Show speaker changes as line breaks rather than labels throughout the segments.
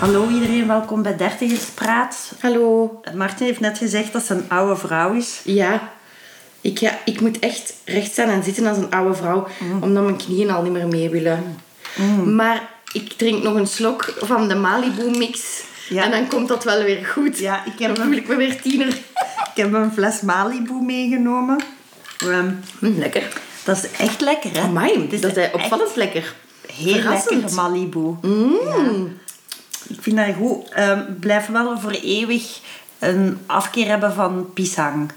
Hallo iedereen, welkom bij Dertigerspraat.
Hallo.
Martin heeft net gezegd dat ze een oude vrouw is.
Ja. Ik, ja, ik moet echt recht staan en zitten als een oude vrouw,
Mm.
omdat mijn knieën al niet meer mee willen. Maar ik drink nog een slok van de Malibu-mix
Ja.
en dan komt dat wel weer goed.
Ja, ik heb
Dan
hem.
voel ik me weer tiener.
Ik heb een fles Malibu meegenomen. Ehm,
Mm, lekker.
dat is echt lekker, hè?
Amai,
Het is
dat is
echt
opvallend lekker.
Heel
Verrassend.
lekker Malibu.
Mm.
Ik vind dat goed. Ehm, blijf wel voor eeuwig een afkeer hebben van pisang.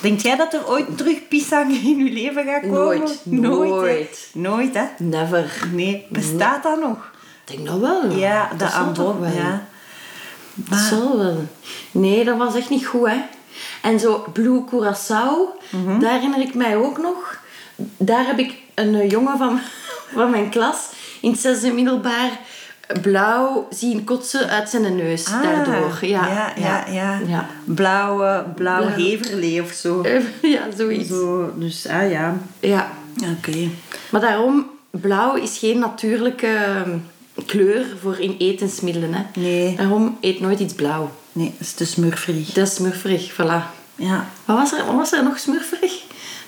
Denk jij dat er ooit terug pisang in je leven gaat komen?
Nooit.
Nooit.
Nooit.
hè? Nooit, hè?
Never.
Nee, bestaat dat nog?
Ik denk dat wel.
Ja, de
zal toch
ambon,
wel.
ja.
Dat
Ah.
zal wel. eh, Nee, dat was echt niet goed, hè. En zo Blue Curaçao,
Mhm.
daar herinner ik mij ook nog. Daar heb ik een eh, jongen van, van mijn klas in het zesde middelbaar blauw zien kotsen uit zijn neus
Ah,
daardoor. Ja,
ja, ja. ja.
Ja,
Blauwe, blauwe
Blauw.
heverlee of zo.
ja zoiets.
zo. Dus, ah ja.
Ja.
Oké.
Maar daarom, blauw is geen natuurlijke eh, kleur voor in etensmiddelen, hè.
Nee.
Daarom eet nooit iets blauw.
Nee, dat is te smurferig.
Dat is smurferig, voilà.
Ja.
Wat was, er, wat was er nog smurferig?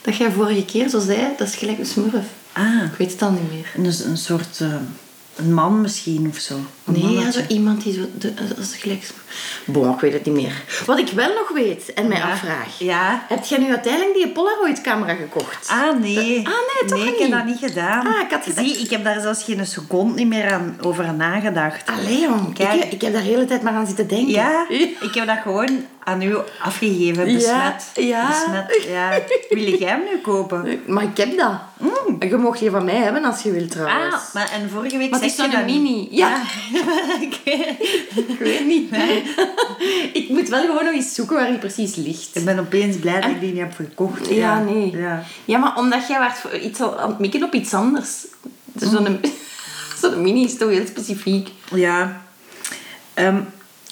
Dat jij vorige keer zo zei, dat is gelijk een smurf.
Ah,
Ik weet het al niet meer.
dus een soort... eh, een man misschien of zo. Een
Nee, ja,
mannetje.
zo iemand die zo... De, dat is gelijk... sm- Bon, ik weet het niet meer. Wat ik wel nog weet en mij
Ja.
afvraag.
Ja.
Heb jij nu uiteindelijk die Polaroid-camera gekocht?
Ah, nee.
Ah, nee, toch
Nee, ik heb
niet?
dat niet gedaan.
Ah, ik had gedacht-
Zie, ik heb daar zelfs geen seconde meer aan, over nagedacht.
Allee, jong.
Ah. Kijk.
Ik, ik heb daar de hele tijd maar aan zitten denken.
Ja, ik heb dat gewoon aan u afgegeven. Besmet.
ja.
Besmet, ja. Wil jij hem nu kopen?
Maar ik heb dat. Je mocht die van mij hebben als je wilt, trouwens.
Mm. Ah, maar en vorige week
Maar het
zeg
is
je
zo'n
dat niet.
mini. Ja.
Oké.
Ik weet niet. ik moet wel gewoon nog eens zoeken waar die precies ligt.
Ik ben opeens blij dat ik die niet heb gekocht.
Ja, nee.
Ja.
Ja. maar omdat jij werd voor iets al- aan het mikken op iets anders. Dus zo'n zo'n mini is toch heel specifiek.
ja. Ehm,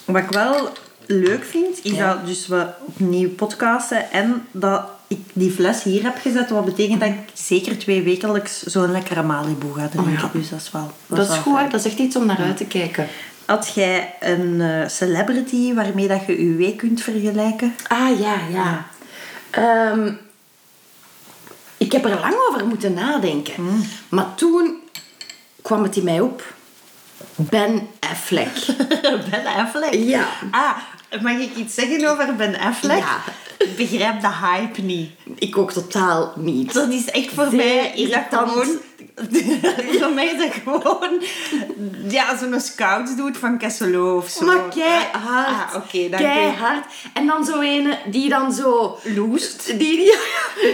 wat ik wel leuk vind, is
Ja.
dat dus we opnieuw podcasten en dat ik die fles hier heb gezet, wat betekent dat ik zeker twee wekelijks zo'n lekkere Malibu ga drinken.
Oh, ja.
Dus dat is wel
Dat,
wel
is goed, hè?
fijn.
dat is echt iets om naar uit te kijken.
Had jij een eh, celebrity waarmee dat je je week kunt vergelijken?
Ah, ja, ja. Ehm, ik heb er lang over moeten nadenken. Maar toen kwam het in mij op. Ben Affleck.
Ben Affleck?
Ja.
Ah, mag ik iets zeggen over Ben Affleck?
Ja.
Ik begrijp de hype niet.
ik ook totaal niet.
Dat is echt voor
Zeer
mij is dat
irritant.
gewoon. voor mij is dat gewoon. Ja, zo'n scout doet van Kesselo of zo.
Maar keihard.
Ah, oké, dank je.
keihard. En dan zo ene die dan zo...
Loest.
Die, die,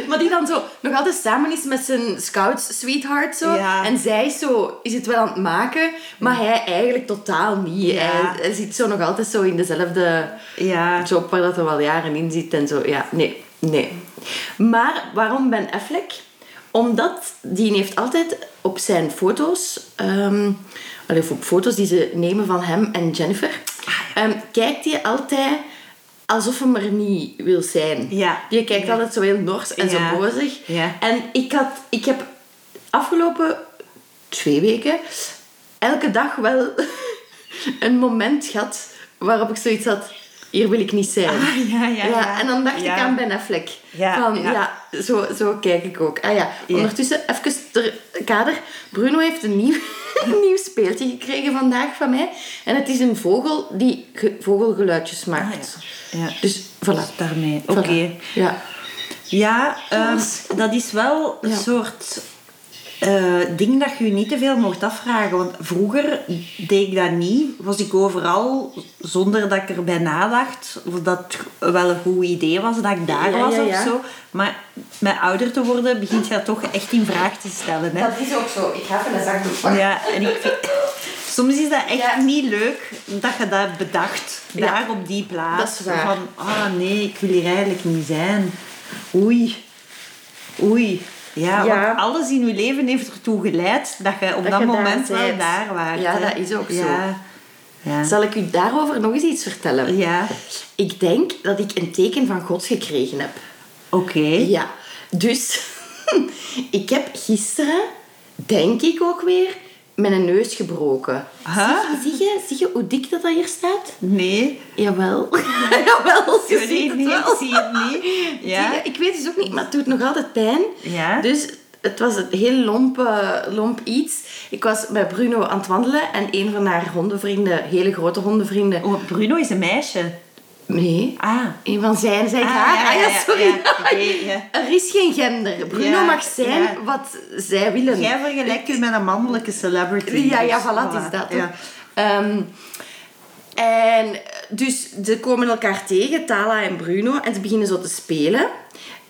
maar die dan zo nog altijd samen is met zijn scouts sweetheart zo.
Ja.
En zij is zo is het wel aan het maken, maar hij eigenlijk totaal niet.
Ja.
Hij, hij zit zo nog altijd zo in dezelfde
Ja.
job waar dat er wel jaren in zit en zo. Ja, nee, nee. Maar waarom Ben Affleck? Omdat die heeft altijd op zijn foto's, ehm, allee, of op foto's die ze nemen van hem en Jennifer,
Ah,
ehm, kijkt hij altijd alsof hem er niet wil zijn.
Ja.
Je kijkt
Ja.
altijd zo heel nors
Ja.
en zo bozig.
Ja.
En ik, had, ik heb afgelopen twee weken elke dag wel een moment gehad waarop ik zoiets had, hier wil ik niet zijn.
Ah, ja, ja, ja.
En dan dacht
Ja.
ik aan Ben Affleck.
Ja,
van,
ja.
ja. zo, zo kijk ik ook. Ah ja,
Ja.
ondertussen even ter kader. Bruno heeft een nieuw, een nieuw speeltje gekregen vandaag van mij. En het is een vogel die ge- vogelgeluidjes maakt.
Ah, ja. Ja.
Dus
Dus
voilà.
daarmee.
Voilà.
Oké.
Ja.
Ja, ehm, dat is wel een
Ja.
soort eh, ding dat je je niet te veel mocht afvragen. Want vroeger deed ik dat niet. Was ik overal zonder dat ik erbij nadacht of dat het wel een goed idee was dat ik daar
Ja,
was
ja,
of
ja.
zo. Maar met ouder te worden begint je dat toch echt in vraag te stellen. Hè?
Dat is ook zo. Ik ga even een zakdoek pakken.
Oh, Ja, en ik vind- Soms is dat echt
Ja.
niet leuk dat je dat bedacht.
Ja.
Daar op die plaats.
Dat is waar.
Van, ah nee, ik wil hier eigenlijk niet zijn. Oei. Oei. Ja,
Ja.
want alles in je leven heeft ertoe geleid dat je op dat,
Dat je daar
moment wel
zijt.
daar waart.
Ja,
hè.
dat is ook
ja.
zo.
Ja.
Zal ik u daarover nog eens iets vertellen?
Ja.
Ik denk dat ik een teken van God gekregen heb.
Oké.
Ja, dus ik heb gisteren, denk ik ook weer, mijn neus gebroken.
Huh?
Zie, zie, je, zie je hoe dik dat, dat hier staat?
Nee.
Jawel. Jawel, je
Ik
ziet
weet
het
niet,
wel.
ik zie het niet.
Zie
Ja.
je? Ik weet dus ook niet, maar het doet nog altijd pijn.
Ja.
Dus het was een heel lomp, eh, lomp iets. Ik was bij Bruno aan het wandelen en een van haar hondenvrienden, hele grote hondenvrienden...
Oh, Bruno is een meisje.
Nee,
Ah.
een van zijn, zei ik
Ah,
haar.
ja,
ah
ja,
ja,
ja,
sorry.
ja. Oké, ja.
Er is geen gender. Bruno
Ja,
mag zijn
ja.
wat zij willen.
Jij vergelijkt u met een mannelijke celebrity.
Ja, ja,
dus
voilà, het is dat.
Ja.
Ehm, en dus ze komen elkaar tegen, Tala en Bruno, en ze beginnen zo te spelen.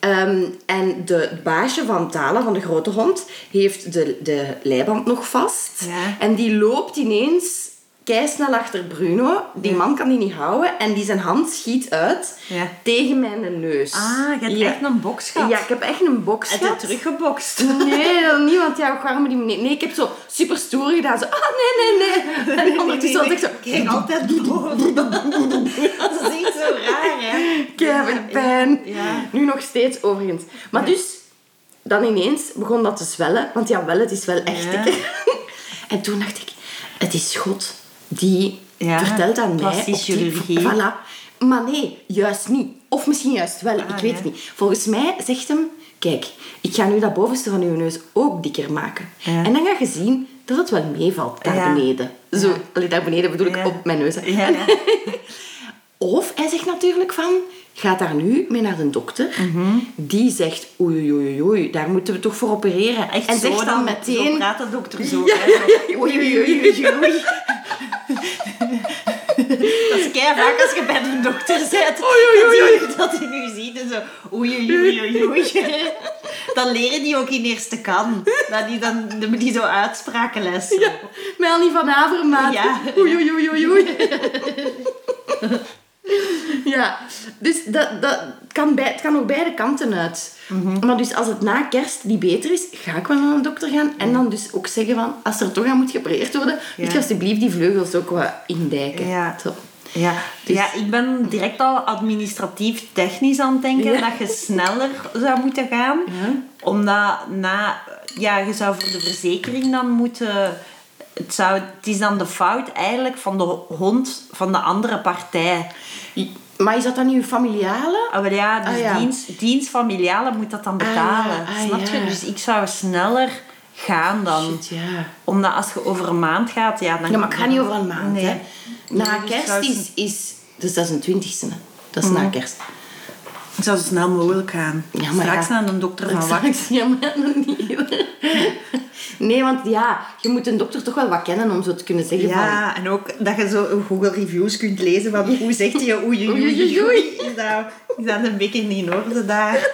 Ehm, en de baasje van Tala, van de grote hond, heeft de, de leiband nog vast.
Ja.
En die loopt ineens keisnel achter Bruno. Die man kan die niet houden. En die zijn hand schiet uit
Ja.
tegen mijn neus.
Ah, je hebt
Ja.
echt een boks gehad.
Ja, ik heb echt een box
Heb je
gehad.
teruggebokst?
Nee, dat niet, want ja, waarom die meneer... Nee, ik heb zo super stoer gedaan. Zo, ah, nee, nee, nee. En ondertussen was ik zo...
Kijk, altijd door. Dat is niet zo raar, hè?
Keihard pijn.
ja.
Nu nog steeds, overigens. Maar dus, dan ineens begon dat te zwellen. Want ja, wel, het is wel echt.
Ja.
en toen dacht ik, het is God die
Ja,
vertelt aan mij...
plastische
op die-
chirurgie.
Voilà. Maar nee, juist niet. Of misschien juist wel, ik weet
ja.
het niet. Volgens mij zegt hem, kijk, ik ga nu dat bovenste van uw neus ook dikker maken.
Ja.
En dan ga je zien dat het wel meevalt daar
Ja.
beneden. Zo,
Ja.
allee, daar beneden bedoel ik
Ja.
op mijn neus. hè.
Ja, ja.
Of hij zegt natuurlijk van, ga daar nu mee naar de dokter.
Mhm.
Die zegt, oei, oei, oei, oei, daar moeten we toch voor opereren.
Echt
en
zo
zegt dan,
dan, Zo
meteen...
praat de dokter zo.
Ja,
hè,
ja,
zo.
ja, oei, oei, oei, oei, oei.
Dat is kei vaak als je bij de dokter zit.
Oei, oei, oei,
Dat hij nu ziet en zo. Oei, oei, oei, oei, oei. Dan leren die ook in eerste kan. Dat die dan die, die zo uitsprakenles.
Ja, Melanie van Avermaat.
Ja.
Oei, oei, oei, oei, oei. Ja, dus dat, dat kan bij, het kan ook beide kanten uit.
Mhm.
Maar dus als het na kerst niet beter is, ga ik wel naar een dokter gaan. En dan dus ook zeggen van, als er toch aan moet geopereerd worden, moet je
Ja.
alsjeblieft die vleugels ook wat indijken.
Ja.
Zo.
Ja,
Dus-
ja, ik ben direct al administratief technisch aan het denken
Ja.
dat je sneller zou moeten gaan.
Ja.
Omdat na, ja, je zou voor de verzekering dan moeten. Het, zou, het is dan de fout eigenlijk van de hond van de andere partij.
Maar is dat dan niet uw familiale?
Ah, wel ja, dus
Ah, ja.
Dienst, dienstfamiliale moet dat dan betalen.
ja, ah,
snap
ja.
je? Dus ik zou sneller gaan dan.
Shit, ja.
Omdat als je over een maand gaat, ja, dan...
Ja, maar ik ga niet over een maand,
Nee.
hè. Na
Nee, dus Mhm.
kerst
zou-
is, is... Dus dat is een twintigste, hè. Dat is na kerst.
Ik zou zo snel mogelijk gaan.
Ja, maar
Straks
ja.
naar een dokter van
Exact,
wakker.
Ja, maar nog niet. hoor. Nee, want ja, je moet een dokter toch wel wat kennen om zo te kunnen zeggen van...
Ja, en ook dat je zo Google reviews kunt lezen van hoe zegt hij oei oei
Oei,
oei, oei,
oei, oei.
Is, dat, is dat een beetje niet in orde daar?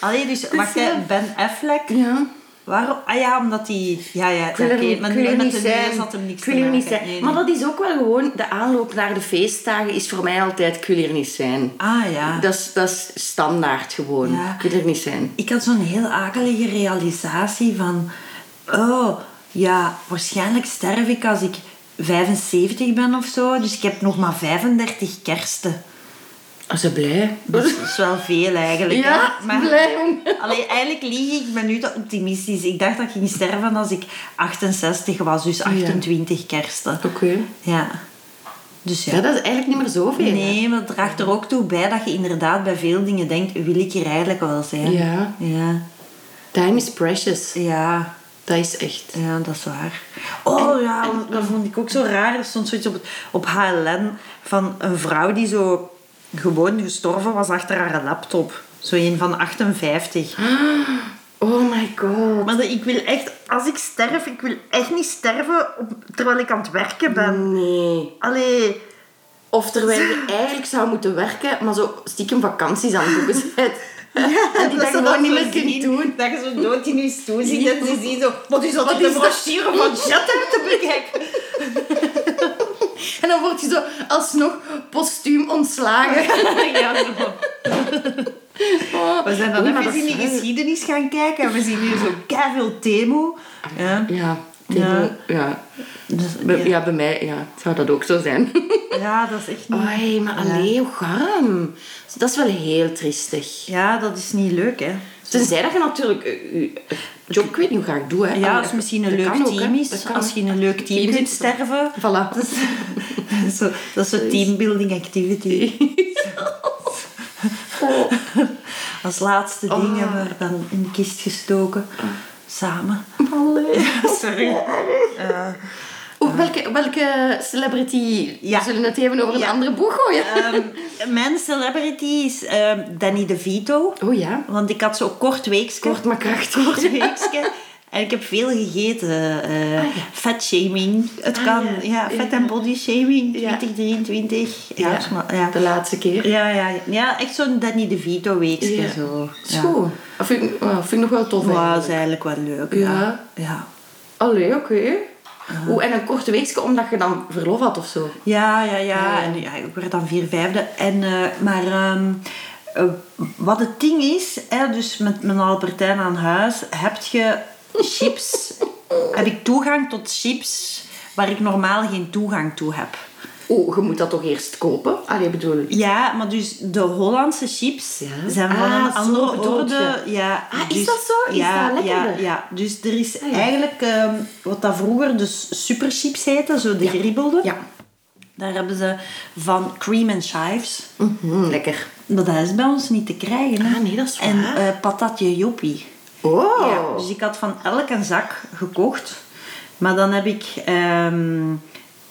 Allee, dus, wacht
ja.
hè, Ben Affleck.
eh, Ja,
Waarom? Ah ja, omdat hij... Ja, ja,
ik wil er,
oké,
ik
maar
wil er
met
niet
de
zijn.
neus had hem niks
Ik wil
te
er niet
maken.
zijn.
Nee,
Maar
nee.
dat is ook wel gewoon... De aanloop naar de feestdagen is voor mij altijd... Ik wil hier niet zijn.
Ah ja.
Dat is, dat is standaard gewoon.
Ja.
Ik wil er niet zijn.
Ik had zo'n heel akelige realisatie van... Oh, ja, waarschijnlijk sterf ik als ik 75 ben of zo. Dus ik heb nog maar 35 kersten.
Oh, ze blij.
Dat is wel veel eigenlijk. hè.
Ja, blij om.
Allee, eigenlijk lieg ik, ik ben nu te optimistisch. Ik dacht dat ik ging sterven als ik 68 was. Dus 28 kersten.
Oké.
Ja. Dus
Ja,
ja.
dat is eigenlijk niet meer zoveel. hè.
Nee, maar het draagt er ook toe bij dat je inderdaad bij veel dingen denkt... Wil ik hier eigenlijk wel zijn?
Ja.
Ja.
Time is precious.
Ja.
Dat is echt.
Ja, dat is waar. Oh ja, want dat vond ik ook zo raar. Er stond zoiets op, het- op HLN van een vrouw die zo gewoon gestorven was achter haar laptop. Zo een van 58.
Oh my god.
Maar dat- ik wil echt, als ik sterf, ik wil echt niet sterven op- terwijl ik aan het werken ben.
Nee.
Allee,
Of terwijl je eigenlijk zou moeten werken, maar zo stiekem vakanties aan het boeken bent. en die dat
ze
gewoon niet meer
zo
kunt
zien,
doen.
Dat je zo dood in je stoel zit en ze zien zo... Wat is dat
Wat
in de
is dat?
brochure van Jet hebben te bekijken?
En dan word je zo alsnog postuum ontslagen.
ja, zo. We zijn dan
Oei, maar
even
dat
in
is
de
waar.
geschiedenis gaan kijken en we zien hier zo keiveel Temo. Ja.
Ja,
Ja.
Timo, ja.
Dus,
Bij-
ja.
ja, bij mij ja, zou dat ook zo zijn.
ja, dat is echt niet...
Oei, maar alleen hoe garm. Dat is wel heel triestig.
Ja, dat is niet leuk, hè.
Tenzij dat je natuurlijk eh, je job, ik weet niet hoe ga ik doen.
Ja,
Hè. Allee,
als misschien een
Ah, dat
leuk
kan ook, hè.
team
Dat
is.
kan.
Als je in een leuk team
Team
kunt
zit-
sterven.
Voilà.
Dat is, dat is zo, dat is zo teambuilding activity.
Oh.
Als laatste
Oh.
ding hebben we er dan in de kist gestoken. Samen.
Allee.
Sorry.
Oeh, welke, welke celebrity
Ja.
we zullen het even over een
Ja.
andere boeg gooien?
Ehm, mijn celebrity is ehm, Danny DeVito.
oh ja,
Want ik had zo kort weekske.
kort maar krachtig.
kort weekske. En ik heb veel gegeten. eh
Ah, ja.
Fat shaming. Het
Ah,
kan.
ja.
Ja,
Ja.
fat en body shaming.
Ja.
2023. Ja,
Ja.
sma- ja.
De laatste keer.
Ja, ja, ja. ja echt zo'n Danny DeVito weekje
Ja.
zo. Ja.
Zo. Dat vind, ik, ah, vind ik nog wel tof.
Wauw, dat is eigenlijk
eigenlijk.
wel leuk.
Ja.
Ja. Ja,
Allee, oké. Oeh, en een korte weekje omdat je dan verlof had of zo.
ja, ja. ja.
Ja.
En ja, ik werd dan vier vijfde. En, eh, maar ehm, eh, wat het ding is, hè, dus met mijn Albertijn aan huis, heb je chips. heb ik toegang tot chips waar ik normaal geen toegang toe heb.
Oeh, je moet dat toch eerst kopen? Allee, bedoel...
Ja, maar dus de Hollandse chips
Ja.
zijn van
Ah,
een
zo
andere
bedoel
orde.
je.
Ja, dus-
Ah, is dat zo? Is
ja,
dat
ja,
lekkerder?
ja, dus er is
Ah, ja.
eigenlijk ehm, wat dat vroeger de s- superchips heette, zo de geribbelde.
Ja.
Daar hebben ze van cream and chives.
Mhm, lekker.
Maar dat is bij ons niet te krijgen. hè.
Ah, nee, dat is
En
waar.
eh, patatje joppie.
Oh.
Ja, dus ik had van elk een zak gekocht. Maar dan heb ik ehm,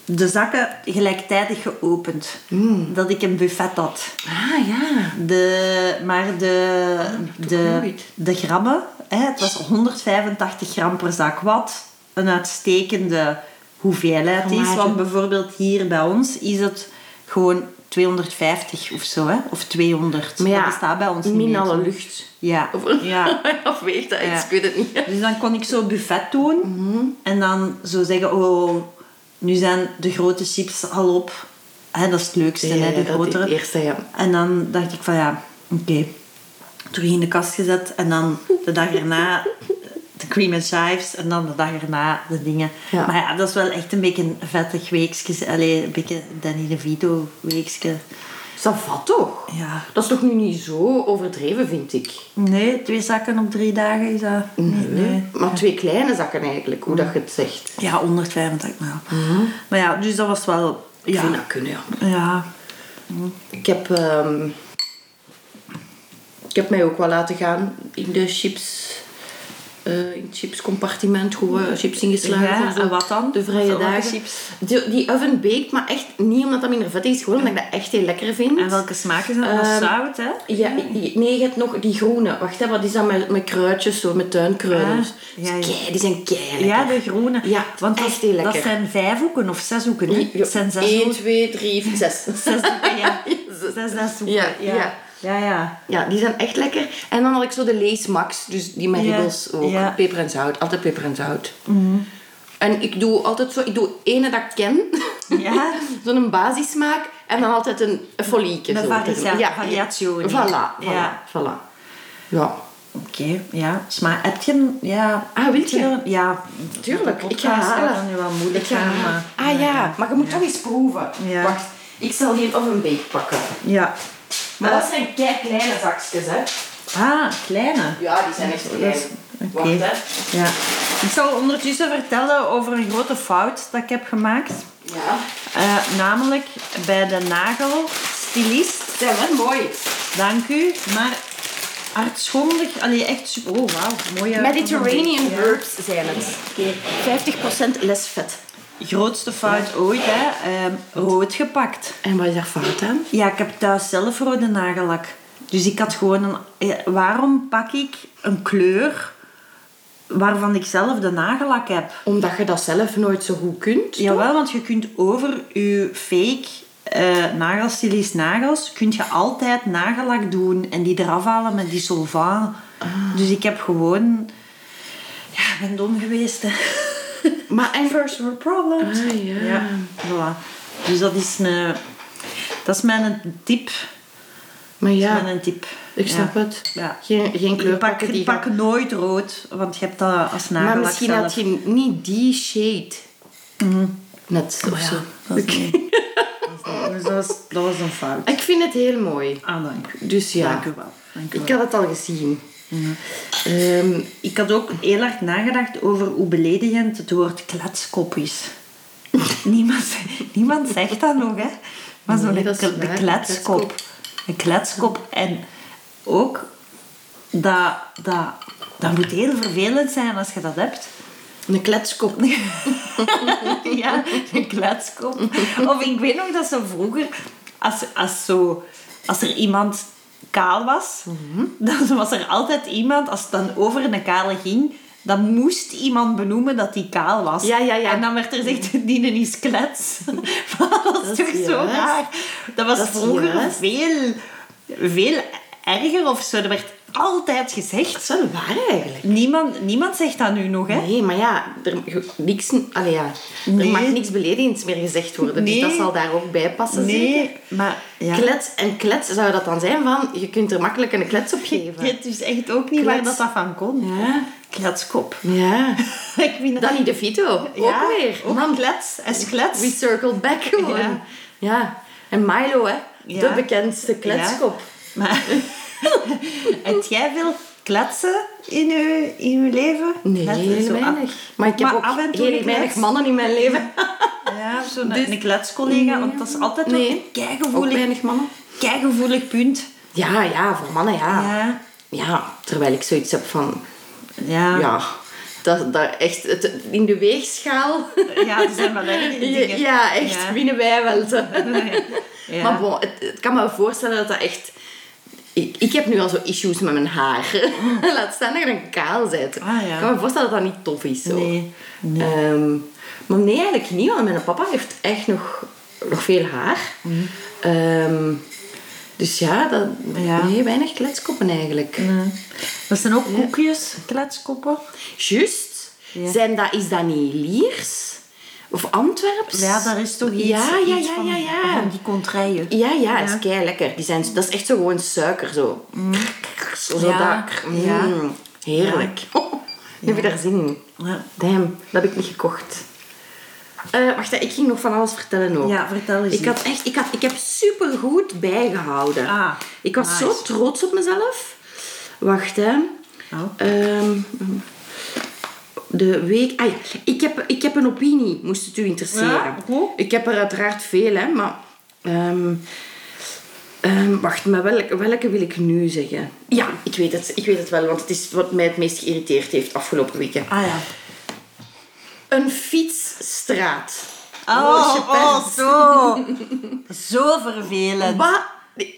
de zakken gelijktijdig geopend.
Mm.
Dat ik een buffet had.
Ah, ja.
De, maar de,
dat doe ik
de,
nooit.
de grammen, hè, het was 185 gram per zak. Wat een uitstekende hoeveelheid is.
Amai.
Want bijvoorbeeld hier bij ons is het gewoon 250 of zo, hè? of 200.
Maar ja,
dat bestaat bij ons niet.
min
meer.
alle lucht.
Ja,
Of,
ja.
of weet dat iets,
Ja.
ik weet het niet. Mhm.
Dus dan kon ik zo buffet doen en dan zo zeggen: Oh, nu zijn de grote chips al op. Hè, dat is het leukste,
Ja,
hè,
ja,
de
dat
grotere.
eerste, ja.
En dan dacht ik van ja, oké. Terug in de kast gezet en dan de dag erna de cream and chives en dan de dag erna de dingen.
Ja.
Maar ja, dat is wel echt een beetje een vettig weekje. Allee, een beetje Danny DeVito weekje.
Savat toch?
Ja.
Dat is toch nu niet zo overdreven, vind ik.
Nee, twee zakken op drie dagen is dat... Nee, nee.
Maar twee kleine zakken eigenlijk, hoe dat je het zegt.
Ja, 185 nou.
Mhm.
Maar ja, dus dat was wel...
Ik vind
Ja.
dat kunnen, ja.
Ja.
Ik heb, ehm, ik heb mij ook wel laten gaan in de chips. eh, in het chipscompartiment, hoe we chips ingeslagen
Ja,
en zo.
en wat dan?
De vrije
Welke
dagen.
chips?
Die, die oven baked, maar echt niet omdat dat minder vet is, gewoon omdat ik dat echt heel lekker vind.
En welke smaken zijn dat?
Ehm,
zout, hè?
Ja, i- nee, je hebt nog die groene. Wacht, hè, wat is dat met, met kruidjes, zo, met tuinkruiders?
Ah, ja, ja.
Kei- die zijn kei
Ja, de groene.
Ja,
Want dat,
echt heel lekker.
dat zijn vijf hoeken of zes hoeken. Hè? Het zijn zes
1,
hoeken.
2, 3, 6.
Zes hoeken, ja. Zes, zes hoeken,
Ja,
ja.
ja.
Ja, ja. ja.
Ja, die zijn echt lekker. En dan had ik zo de Lees Max, dus die met
Ja,
ribbels ook.
ja. Mhm.
Peper en zout, altijd peper en zout. En ik doe altijd zo, ik doe ene dat ik ken.
Ja.
Zo'n basissmaak en dan altijd een een folieke.
Met
zo.
varia- variationen.
Voilà, voilà,
Ja.
voilà. Ja,
Oké, ja. Maar heb je een... Ja.
Ah, wilt je?
er een- Ja.
tuurlijk.
Met de
Ik ga
podcast
halen.
gaat dat nu wel moeilijk
Ik ga
gaan,
halen.
maar-
Ah ja, maar je moet toch eens proeven.
Ja.
Wacht, ik zal die oven bake pakken.
Ja.
Maar dat zijn kei kleine zakjes, hè.
Ah, kleine.
Ja, die zijn echt klein.
Dat is- Oké.
Wacht, hè.
Ja. Ik zal ondertussen vertellen over een grote fout dat ik heb gemaakt.
Ja.
Eh, namelijk bij de nagelstilist
Ze zijn wel mooi.
Dank u, maar hartschondig. Allee, echt super. Oh, wauw. Mooie...
Mediterranean
Ja.
herbs zijn het. 50% less vet.
Grootste fout ooit, hè. Ehm, rood gepakt.
En wat is daar fout aan?
Ja, ik heb thuis zelf rode nagellak. Dus ik had gewoon een... eh, Waarom pak ik een kleur waarvan ik zelf de nagellak heb?
Omdat je dat zelf nooit zo goed kunt.
Jawel, want je kunt over je fake eh nagelstylist nagels, kun je altijd nagellak doen en die eraf halen met die solvant.
Ah.
Dus ik heb gewoon... Ja, ik ben dom geweest. Hè.
Maar en...
First world problems.
Ah, ja.
voilà. Dus dat is een... Dat is mijn tip.
Maar
Ja.
ja,
Mijn tip.
ik snap
Ja.
het.
Ja.
Geen, geen kleur
Je pak,
pakken die...
pak nooit rood, want je hebt dat als nagellak
Maar misschien
zelf.
had je niet die shade. Mhm. Net of
Maar
zo.
ja, dat is niet- dat is niet- dus dat was, dat was een fout.
Ik vind het heel mooi.
Ah, dank u.
Dus ja.
Dank u wel. Dank u
Ik
wel.
had het al gezien. Ehm,
Ik had ook heel hard nagedacht over hoe beledigend het woord kletskop is. niemand, niemand zegt dat nog, hè? Maar zo'n
Nee, dat is
kle- de
waar,
kletskop.
kletskop.
Een kletskop. En ook, dat, dat, dat moet heel vervelend zijn als je dat hebt.
een kletskop.
ja, een kletskop. Of ik weet nog dat ze vroeger, als, als, zo, als er iemand kaal was,
Mhm.
dan was er altijd iemand, als het dan over een kale ging, dan moest iemand benoemen dat die kaal was.
Ja, ja, ja.
En dan werd er gezegd, die is klets. Maar dat is
Dat
toch
is
zo
juist.
raar. Dat was
Dat is
vroeger
juist.
veel, veel erger of zo. Dat werd altijd gezegd.
Dat is wel waar eigenlijk.
Niemand, niemand zegt dat nu nog, hè?
Nee, maar ja, er, ge- niks, allee ja,
Nee.
er mag niks beledigends meer gezegd worden.
Nee.
Dus dat zal daar ook bij passen, zeker?
maar... Ja.
Klets en klets zou dat dan zijn van, je kunt er makkelijk een klets op geven.
Het is echt ook niet
Klets.
waar dat, dat van kon.
Ja.
Kletskop.
Ja.
Ik vind dat...
Danny DeVito,
Ja,
ook weer.
Ook
Man,
klets. Is
we
klets.
circle back gewoon.
Ja.
Ja. En Milo, hè.
Ja.
De bekendste kletskop.
Ja. Maar... Heb jij veel kletsen in je, in je leven?
Nee,
Kletsen,
heel
zo af-
weinig. Maar ik heb
af en
ook
toe
heel
een
weinig
klets.
mannen in mijn leven.
Ja, zo'n
Dus-
een kletscollega. Want dat is altijd
Nee.
ook een
Ook
keigevoelig,
weinig mannen.
keigevoelig punt.
Ja, ja, voor mannen, ja.
Ja.
Ja, terwijl ik zoiets heb van...
Ja. ja.
Ja, dat, dat echt het, in de weegschaal.
er zijn wel ergere dingen.
Ja, echt
Ja.
winnen wij wel. zo.
Ja.
Maar bon, het, het kan me voorstellen dat dat echt. Ik, ik heb nu al zo issues met mijn haar. Laat staan dat je dan kaal bent.
Ah, ja.
Ik kan me voorstellen dat dat niet tof is. Zo.
Nee,
Ehm, maar nee, eigenlijk niet, want mijn papa heeft echt nog, nog veel haar.
Mm.
Ehm, dus ja, dat,
Ja.
Nee, weinig kletskoppen eigenlijk.
Dat zijn ook koekjes, kletskoppen.
Juist.
Ja.
Zijn dat, is dat niet Liers? Of Antwerps?
Ja, daar is toch iets,
Ja, ja,
iets
ja,
van,
ja, ja.
van die contraien.
Ja, ja, dat is kei lekker. Die zijn, dat is echt zo gewoon suiker, zo. Zo
Mm. Ja,
dat.
ja.
Mm, Heerlijk. Oh, nu heb je daar zin in.
Ja.
Damn, dat heb ik niet gekocht. Eh, wacht, hè, ik ging nog van alles vertellen ook.
Ja, vertel eens
Ik, had echt, ik, had, ik heb supergoed bijgehouden.
Ah,
ik was zo
nice.
trots op mezelf. Wacht, hè.
Oh.
Ehm, de week... Ah ja, ik heb, ik heb een opinie, moest het u interesseren.
Ja, goed.
Ik heb er uiteraard veel, hè, maar... ehm, ehm, wacht, maar welke, welke wil ik nu zeggen? Ja, ik weet, het, ik weet het wel, want het is wat mij het meest geïrriteerd heeft afgelopen weken.
Ah ja.
Een fietsstraat.
Oh,
Roosje Pers.
oh, zo. zo vervelend.
Wat?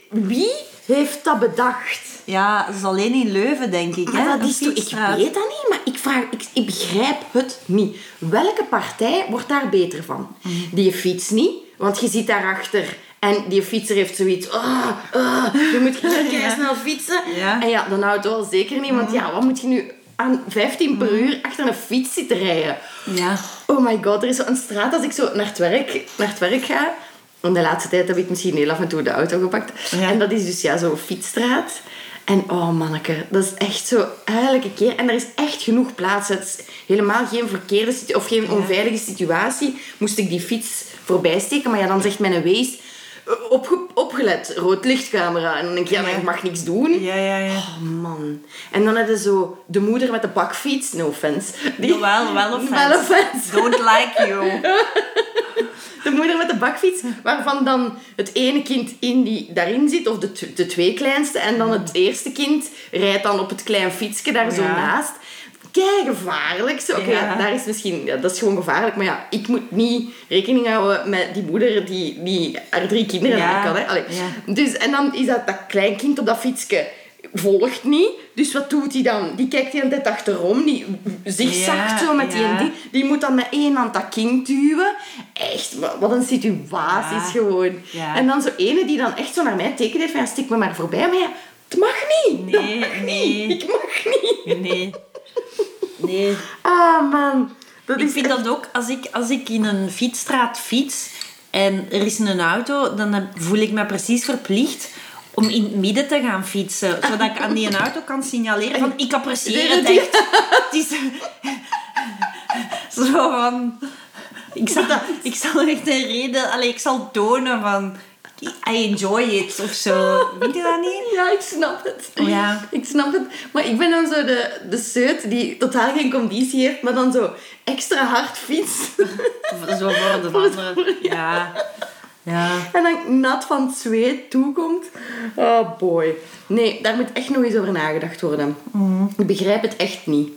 Wie heeft dat bedacht?
Ja, dat is alleen in Leuven, denk ik.
Maar
hè?
dat
een
is toch, ik
fietsstraat.
weet dat niet, maar ik, vraag, ik, ik begrijp het niet. Welke partij wordt daar beter van? Die fiets niet, want je zit daarachter. En die fietser heeft zoiets... "Ah, ah, je moet snel fietsen.
Ja.
En ja, Mhm. dan houdt het wel zeker niet. Want ja, wat moet je nu aan 15 per uur achter een fiets zitten rijden?
Ja.
Oh my god, er is zo'n straat als ik zo naar het werk, naar het werk ga. In de laatste tijd heb ik misschien heel af en toe de auto gepakt.
Ja.
En dat is dus ja, zo'n fietsstraat. En oh manneke, dat is echt zo elke keer. En er is echt genoeg plaats. Het is helemaal geen verkeerde situ- of geen onveilige situatie. Moest ik die fiets voorbij steken. Maar ja, dan zegt mijn wees... "Eh, Opge- opgelet, rood lichtcamera. En dan denk ik, ja, maar
Ja.
ik mag niks doen.
Ja, ja, ja.
Oh man. En dan hadden zo de moeder met de bakfiets. No offense. Die,
Wel, wel offense.
Wel offense.
Don't like you.
De moeder met de bakfiets, waarvan dan het ene kind in die, daarin zit, of de, tw- de twee kleinste, en dan het eerste kind rijdt dan op het klein fietsje daar zo
Ja.
naast. Kei gevaarlijk. Zo, Oké,
Ja.
daar is misschien, ja, dat is gewoon gevaarlijk, maar ja, ik moet niet rekening houden met die moeder die, die haar drie kinderen
Ja.
aan kan. Hè. Allee.
Ja.
Dus, en dan is dat, dat kleinkind op dat fietsje volgt niet. Dus wat doet hij dan? Die kijkt de hele tijd achterom, die zigzagt
Ja,
zo met die
ja.
en die. Die moet dan met één hand dat kind duwen. Echt, wa- wat een situatie
Ja.
gewoon.
Ja.
En dan zo ene die dan echt zo naar mij tekent heeft van ja, stik me maar voorbij. Maar ja, het mag niet. Dat
Nee,
mag
nee.
niet. Ik mag niet.
Nee. Nee.
Ah man. Dat
Ik
is
vind dat ook, als ik, als ik in een fietsstraat fiets en er is een auto, dan heb- voel ik me precies verplicht om in het midden te gaan fietsen. Zodat ik aan die auto kan signaleren van, ik apprecieer het echt. Het is zo van... Ik zal, ik zal echt een reden... Allee, ik zal tonen van... I enjoy it of zo. Weet je dat niet?
Ja, ik snap het.
Oh, Ja.
Ik snap het. Maar ik ben dan zo de, de seut die totaal geen conditie heeft, maar dan zo extra hard fietst.
Of Zo voor de anderen. Ja. Ja.
en dan nat van het zweet toekomt. Oh boy. Nee, daar moet echt nog eens over nagedacht worden.
Mhm.
Ik begrijp het echt niet.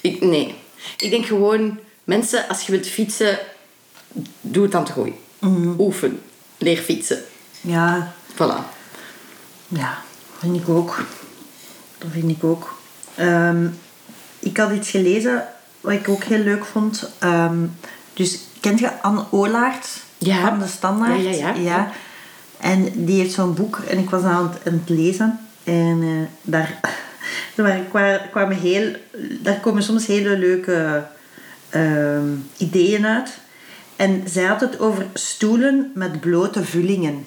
Ik, nee. Ik denk gewoon, mensen, als je wilt fietsen, doe het aan het gooien.
Mhm.
Oefen. Leer fietsen.
Ja.
Voilà.
Ja, vind ik ook. Dat vind ik ook. Ehm, ik had iets gelezen wat ik ook heel leuk vond. Ehm, dus kent je Anne Olaert
Ja.
van de Standaard?
Ja, ja, ja.
En die heeft zo'n boek en ik was aan het, aan het lezen. En eh, daar, daar kwa- kwamen heel, daar komen soms hele leuke ehm, ideeën uit. En zij had het over stoelen met blote vullingen.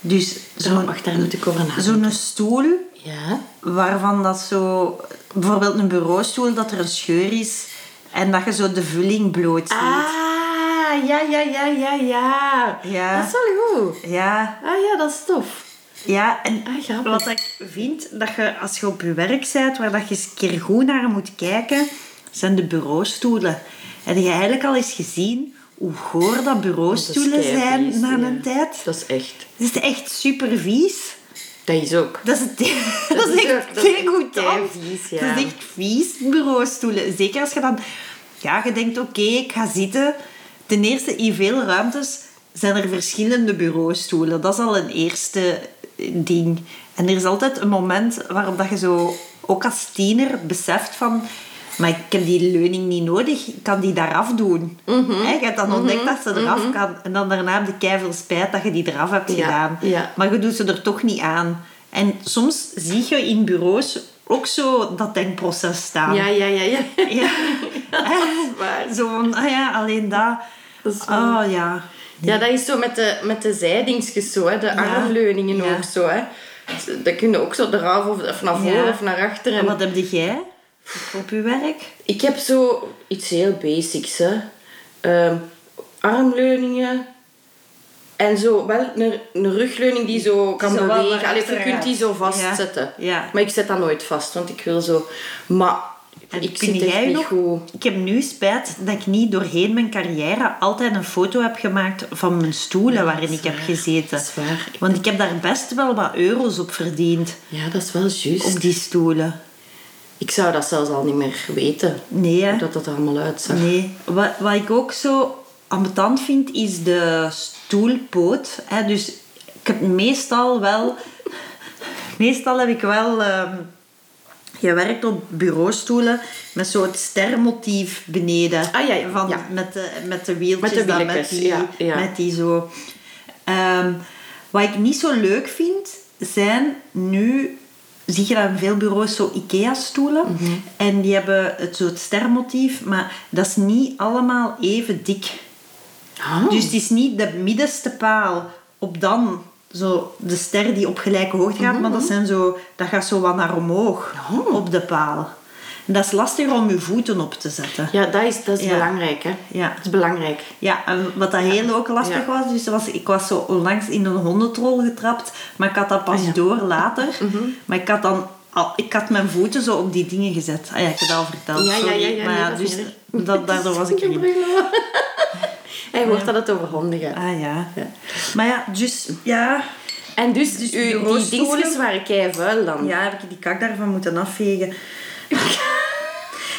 Dus
Zo,
zo'n
wacht, daar moet ik over nadenken.
zo'n stoel
Ja.
waarvan dat zo... Bijvoorbeeld een bureaustoel, dat er een scheur is en dat je zo de vulling bloot ziet.
Ah, ja, ja, ja, ja, ja.
Ja.
Dat is wel goed.
Ja,
Ah ja, dat is tof.
ja, en
Ah, grappig.
wat ik vind, dat je als je op je werk bent, waar dat je eens een keer goed naar moet kijken, zijn de bureaustoelen. Heb je eigenlijk al eens gezien hoe goor dat bureaustoelen
Dat is
zijn
keivies,
na
ja.
een tijd?
Dat is echt.
Dat is echt super vies.
Dat is ook.
Dat is, het- e- dat is
is
echt
ook- dat is
heel goed
kei
dan.
vies, ja.
Dat is echt vies, bureaustoelen. Zeker als je dan... Ja, je denkt, oké, ik ga zitten. Ten eerste, in veel ruimtes zijn er verschillende bureaustoelen. Dat is al een eerste ding. En er is altijd een moment waarop dat je zo, ook als tiener, beseft van... Maar ik heb die leuning niet nodig. Ik kan die daar afdoen.
Mhm.
Hè, Je hebt dan ontdekt dat ze eraf kan. En dan daarna heb je keiveel spijt dat je die eraf hebt
Ja,
gedaan.
ja.
Maar je doet ze er toch niet aan. En soms zie je in bureaus ook zo dat denkproces staan.
Ja, ja, ja, ja.
Ja.
waar.
zo van, ah ja, alleen dat.
Dat is waar.
oh ja.
Ja, dat is zo met de, met de zijdingsjes zo, hè. De armleuningen
Ja.
ook zo, hè. Dat kunnen ook zo eraf of, of naar voren
Ja.
of naar achteren.
En wat heb jij op je werk?
Ik heb zo iets heel basics, hè. Ehm, armleuningen. En zo wel een, een rugleuning die zo kan
Zo wel
bewegen.
naar
Allee, je
achteren
kunt die zo
gaat.
vastzetten.
Ja, ja.
Maar ik zet dat nooit vast, want ik wil zo... Maar
En
ik
kun
zit echt
jij
niet
nog...
goed.
Ik heb nu spijt dat ik niet doorheen mijn carrière altijd een foto heb gemaakt van mijn stoelen waarin ik heb gezeten.
Dat is waar. Ik-
Want ik heb daar best wel wat euro's op verdiend,
Ja, dat is wel juist.
op die stoelen.
Ik zou dat zelfs al niet meer weten.
Nee, hè?
Hoe dat dat er allemaal uitzag.
Nee, wat, wat ik ook zo ambetant vind, is de stoelpoot. Hè? Dus ik heb meestal wel... Meestal heb ik wel ehm, gewerkt op bureaustoelen met zo het stermotief beneden.
Ah, ja, ja,
Van,
ja.
Met, de, met de wieltjes.
Met de
dan,
wieltjes,
die,
ja, ja.
met die zo. Ehm, wat ik niet zo leuk vind, zijn nu... Zie je dat in veel bureaus zo IKEA-stoelen.
Mhm.
En die hebben het soort stermotief, maar dat is niet allemaal even dik.
Ah.
Dus het is niet de middenste paal op dan zo de ster die op gelijke hoogte gaat, maar dat, zijn zo, dat gaat zo wat naar omhoog
Mhm, Oh.
op de paal. En dat is lastig om je voeten op te zetten.
Ja, dat is, dat is
Ja.
belangrijk, hè.
Ja.
Dat is belangrijk.
Ja, en wat dat heel ook lastig
Ja.
was, dus was, ik was zo onlangs in een hondentrol getrapt, maar ik had dat pas
Ah, ja. Mhm.
door later. Maar ik had dan al, ik had mijn voeten zo op die dingen gezet. Ah ja, ik heb dat al verteld,
Ja, ja,
sorry.
ja, ja,
maar
nee,
ja,
dat is
dus
niet erg.
dat, daardoor was ik
Geen
erin.
probleem. Hij hoort dat het over honden gaat.
Ah ja.
Ja.
Maar ja, dus ja,
En dus, u, die
bureaustoelen-
dingetjes waren kei vuil dan.
ja, heb ik die kak daarvan moeten afvegen.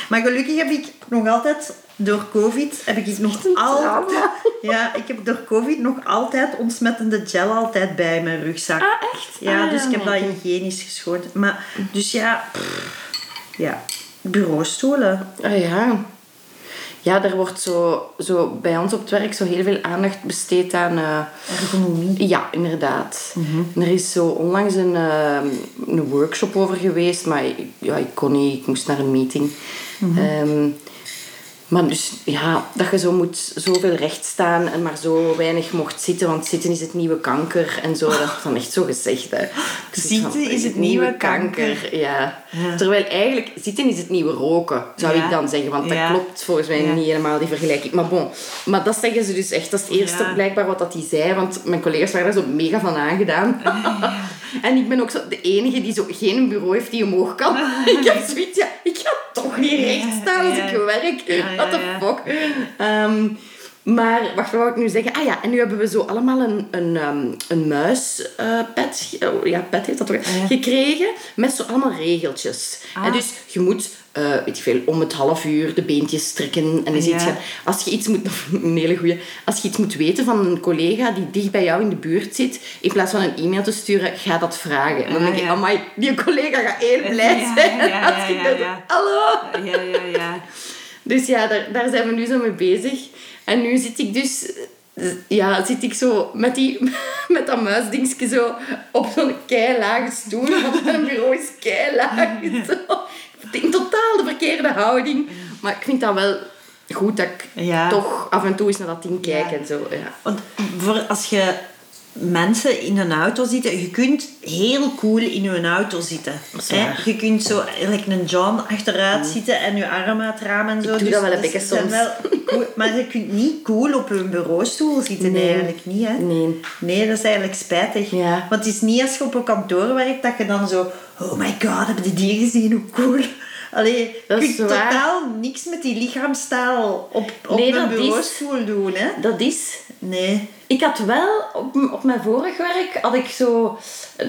maar gelukkig heb ik nog altijd door COVID heb ik nog
trauma.
altijd ja, ik heb door COVID nog altijd ontsmettende gel altijd bij mijn rugzak.
Ah, echt?
Ja,
Ah,
dus ik heb dat
nee.
hygiënisch geschoten. Maar dus ja, pff, ja, bureaustoelen.
Ah, ja. Ja, er wordt zo, zo bij ons op het werk zo heel veel aandacht besteed aan... eh,
Ergonomie. Mhm.
Ja, inderdaad. Er is zo onlangs een, ehm, een
Mhm.
workshop over geweest, maar ik- ja, ik kon niet, ik moest naar een meeting. Ehm, Maar dus, ja, dat je zo moet zoveel recht staan en maar zo weinig mocht zitten, want zitten is het nieuwe kanker en zo. Dat wordt dan echt zo gezegd, hè. Dus Ik zit
Zitten is het nieuwe
Ja.
Ja.
Terwijl eigenlijk, zitten is het nieuwe roken, zou
Ja.
ik dan zeggen. Want dat
Ja.
klopt volgens mij
Ja.
niet helemaal, die vergelijking. Maar bon, maar dat zeggen ze dus echt. Dat is het eerste
Ja.
blijkbaar wat dat die zei, want mijn collega's waren daar zo mega van aangedaan. en ik ben ook zo de enige die zo geen bureau heeft die omhoog kan. ik heb zoiets, ja, ik ga toch niet recht staan als
Ja.
ik werk.
Ja,
What the
ja, ja.
fuck? Ehm, maar wacht, wat wou ik nu zeggen? Ah ja, en nu hebben we zo allemaal een, een, ehm, een muispet, ja, pet heet dat toch,
Ah, Ja.
gekregen met zo allemaal regeltjes.
Ah.
En dus je moet, eh, weet ik veel, om het half uur de beentjes strikken en eens
Ah, Ja.
iets gaan. Als je iets moet, een hele goeie, als je iets moet weten van een collega die dicht bij jou in de buurt zit, in plaats van een e-mail te sturen, ga dat vragen. En dan
Ah,
denk ik,
ja.
amai, die collega gaat heel blij
Ja,
zijn
ja, ja,
als ik
ja,
dat
ja.
hallo!
Ja, ja, ja.
Dus ja, daar, daar zijn we nu zo mee bezig. En nu zit ik dus... Ja, zit ik zo met, die, met dat muisdingetje zo op zo'n keilage stoel. Want mijn bureau is keilaag. Zo. In totaal de verkeerde houding. Maar ik vind dat wel goed dat ik
Ja.
toch af en toe eens naar dat ding kijk
Ja.
en zo. Ja.
Want voor als je mensen in een auto zitten, je kunt heel cool in een auto zitten.
is
hè.
waar. Mm.
Je kunt zo like een John achteruit zitten en je arm uit het raam en zo. Dus
Ik doe dat wel een beetje
ze zijn
soms.
wel cool. maar je kunt niet cool op een bureaustoel zitten
Nee.
eigenlijk niet. Hè?
Nee.
Nee, dat is eigenlijk spijtig.
Ja.
Want het is niet als je op een kantoor werkt dat je dan zo... Oh my god, heb je die gezien? Hoe cool. Allee, je
Dat is
kunt
waar.
totaal niks met die lichaamstaal op, op
Nee,
een
dat is-
bureaustoel doen. Hè?
Dat is
Nee.
Ik had wel, op, m- op mijn vorig werk had ik zo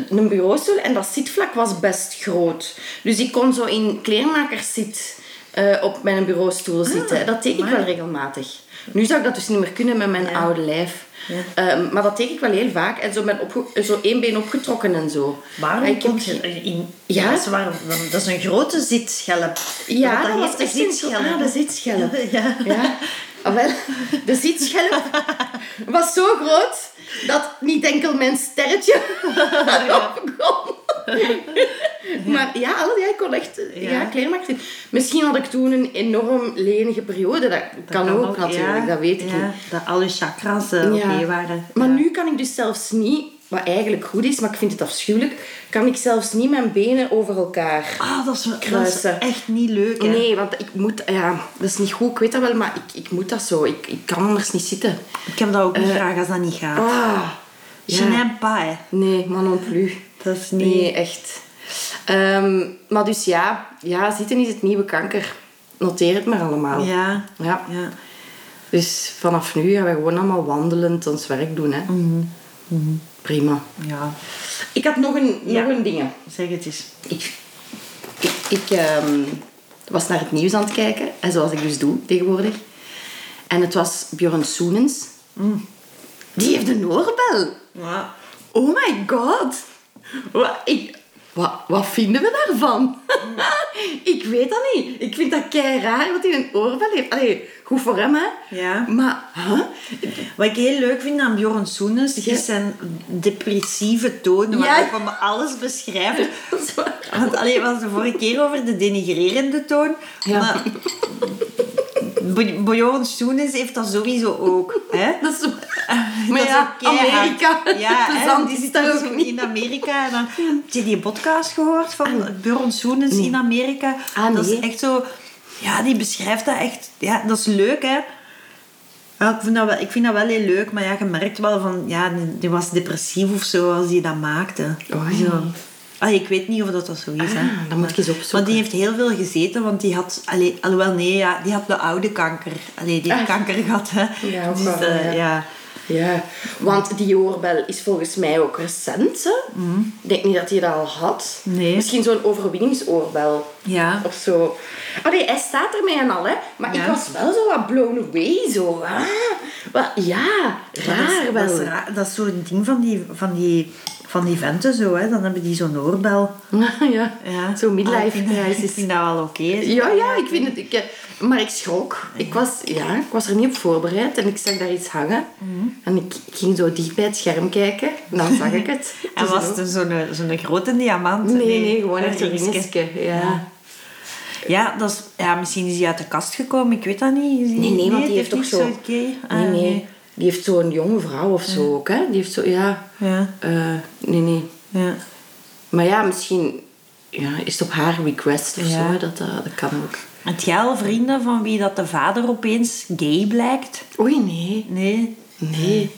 een bureaustoel en dat zitvlak was best groot. Dus ik kon zo in kleermakerszit eh op mijn bureaustoel zitten. Dat deed ik
Ah, amai.
wel regelmatig. Nu zou ik dat dus niet meer kunnen met mijn oude lijf. Ehm, maar dat deed ik wel heel vaak. En zo, ben opge- zo één been opgetrokken en zo.
Waarom
En Ah, ik heb
komt
geen-
je in...
Ja?
Dat, is waar, want dat is een grote zitschelp.
Ja,
Want
dat was
heet een
echt een gro- ah, de zitschelp.
Ja.
Ja, Ah, wel, de zitschelp was zo groot dat niet enkel mijn sterretje overkwam. Maar ja, alle, ja, ik kon echt eh, ja.
Ja.
kleermaker zijn. Misschien had ik toen een enorm lenige periode. Dat, kan, ook, natuurlijk,
ja.
dat weet ik
Ja,
niet.
Dat alle chakras eh, oké waren.
Maar
Ja.
nu kan ik dus zelfs niet, wat eigenlijk goed is, maar ik vind het afschuwelijk, kan ik zelfs niet mijn benen over elkaar
Ah, dat is, dat is
kruisen.
echt niet leuk, hè?
Nee, want ik moet, ja, dat is niet goed, ik weet dat wel, maar ik, ik moet dat zo. Ik, ik kan anders niet zitten.
Ik heb dat ook niet graag als dat niet gaat.
Ah,
Je
Eh, ja.
n'aime pas, hè.
Nee, maar non plus.
Dat is niet...
Nee, echt. Ehm, maar dus ja, ja, zitten is het nieuwe kanker. Noteer het maar allemaal.
Ja.
Oh. Ja.
Ja.
Dus vanaf nu gaan wij gewoon allemaal wandelend ons werk doen, hè.
Mhm.
Prima.
ja,
Ik had nog een,
Ja.
nog een ding.
zeg het eens.
Ik, ik, ik ehm, was naar het nieuws aan het kijken, en zoals ik dus doe tegenwoordig. En het was Björn Soenens.
Mm.
Die heeft een oorbel.
Ja.
Oh my god. Wat, ik, wat, wat vinden we daarvan? ik weet dat niet. Ik vind dat kei raar dat hij een oorbel heeft. Allee, goed voor hem, hè?
Ja.
Maar, huh?
Wat ik heel leuk vind aan Bjorn Soenens,
Ja.
is zijn depressieve toon, waar
Ja.
hij van alles beschrijft.
Dat is waar.
Want alleen was de vorige keer over de denigrerende toon.
Ja.
Maar B- Bjorn Soenens heeft dat sowieso ook. Hè?
Dat is waar.
Dat
Maar
is
ja,
ook keihard.
Amerika.
Ja,
De
hè,
zand
die
is
zit
daar
dan
ook
zo
niet.
in Amerika. En dan, heb je die podcast gehoord van Bjorn Soenens in Amerika?
Ah,
Dat is
nee.
echt zo... Ja, die beschrijft dat echt... Ja, dat is leuk, hè. Ja, ik, vind dat wel, ik vind dat wel heel leuk, maar ja, je merkt wel van... Ja, die, die was depressief of zo als die dat maakte.
Oei.
Zo. Ah, ik weet niet of dat, dat zo is, hè.
Oh, Ah, dat moet ik eens opzoeken.
Maar die heeft heel veel gezeten, want die had... Allee, alhoewel, nee, ja, die had de oude kanker. Allee, die heeft
Ah.
kanker gehad, hè.
Ja, ook
dus,
wel,
eh,
ja.
ja.
Ja, want die oorbel is volgens mij ook recent. Hè? Ik denk niet dat hij dat al had.
Mm. Nee.
Misschien zo'n overwinningsoorbel
Ja.
of zo. Allee, hij staat ermee en al, hè? Maar
Ja.
ik was wel zo wat blown away, zo. Ah, wat, ja,
Maar
raar
dat, is,
wel.
dat, is raar. dat is zo'n ding van die, van die, van die venten zo, hè. Dan hebben die zo'n oorbel.
ja,
Ja.
zo'n
Ah, ik
midlife
vind dat- Ik
crisis.
vind dat wel oké.
Ja, ja, ik vind het... Ik, eh, maar ik schrok. Ik was, ja, ik was er niet op voorbereid en ik zag daar iets hangen.
Mm.
En ik, ik ging zo dicht bij het scherm kijken en dan zag ik het.
En
Dus
was
zo.
het een zo'n zo'n grote diamant?
Nee, nee, gewoon echt een
ringetje.
ringetje. Ja.
Ja, dat is, ja, misschien is hij uit de kast gekomen, ik weet dat niet. Is die-
Nee, nee, want die heeft
dat
toch
is
zo...
niet gay? Ah,
nee, nee. Die heeft zo'n jonge vrouw of zo ook, hè. Die heeft zo... Ja.
Ja.
Eh, nee, nee.
Ja.
Maar ja, misschien ja, is het op haar request of
Ja.
zo. hè, Dat, eh, dat, dat kan ook.
Het jij al vrienden van wie dat de vader opeens gay blijkt?
Oei, nee.
Nee. Eh,
Nee.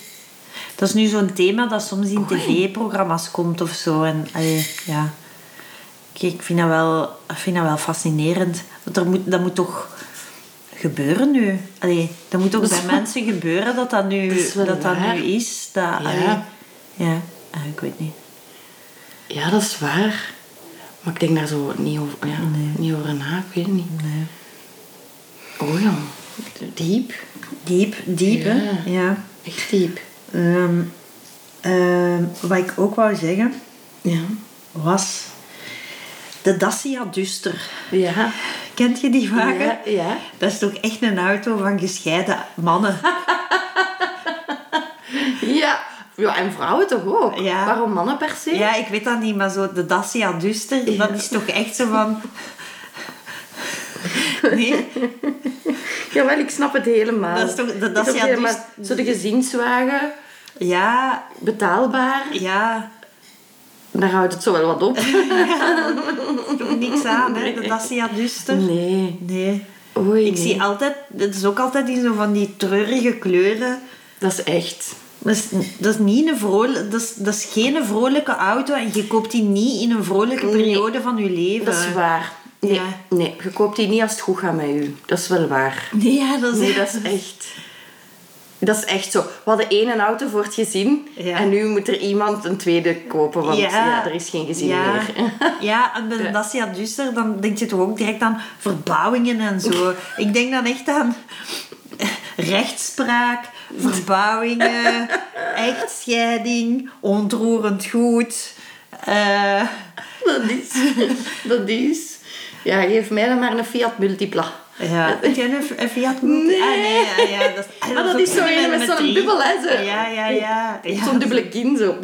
Dat is nu zo'n thema dat soms in
Oei.
tv-programma's komt of zo. En, allee, ja. Kijk, ik vind dat wel, ik vind dat wel fascinerend. Want er moet, dat moet toch gebeuren nu. Allee, dat moet ook
Dat is
bij
wel-
mensen gebeuren dat dat nu,
Dat is wel
dat, dat
waar.
nu is. Dat, ja. ja. Ah, ik weet niet.
Ja, dat is waar. Maar ik denk daar zo niet over, ja, niet over na. Ik weet het niet.
Nee.
Oh ja. Diep.
Diep, diep, hè?
Ja.
Ja.
Echt diep.
Ehm, ehm, wat ik ook wou zeggen
Ja.
was de Dacia Duster.
Ja.
Kent je die wagen?
Ja, ja.
Dat is toch echt een auto van gescheiden mannen?
Ja. Ja, en vrouwen toch ook?
Ja.
Waarom mannen per se?
Ja, ik weet dat niet, maar zo de Dacia Duster, dat is toch echt zo van... Nee,
Jawel, ik snap het helemaal.
Dat is toch- dat-
Het
dat is
ook
ja,
helemaal
dus-
Zo de gezinswagen,
ja,
betaalbaar.
ja,
Daar houdt het zo wel wat op.
toch niks aan, hè, de Dacia Duster.
Nee.
Nee.
Oei,
Ik
nee.
zie altijd, het is ook altijd in zo van die treurige kleuren.
Dat is echt...
Dat is, dat is, niet een vrolijk, dat, is, dat is geen vrolijke auto en je koopt die niet in een vrolijke
Nee.
periode van je leven.
Dat is waar. Nee,
Ja.
nee, je koopt die niet als het goed gaat met u. Dat is wel waar.
Nee, ja, dat is,
Nee, dat is echt... Dat is echt zo. We hadden één auto voor het gezin.
Ja.
En nu moet er iemand een tweede kopen. Want ja.
Ja.
er is geen gezin
ja.
meer.
Ja, en bij de Dacia Duster, dan denk je toch ook direct aan verbouwingen en zo. Ik denk dan echt aan rechtspraak, verbouwingen, echtscheiding, ontroerend goed. Eh,
Dat is... Dat is... Ja, geef mij dan maar een Fiat Multipla.
ja. Heb jij een, een Fiat Multi?
Nee.
Ah, nee, ja, ja, dat is, ah,
Maar dat
ook
is zo
die
een met zo'n
drie.
dubbel, hè, zo.
Ja, ja, ja. ja.
Zo'n dubbele kin, zo.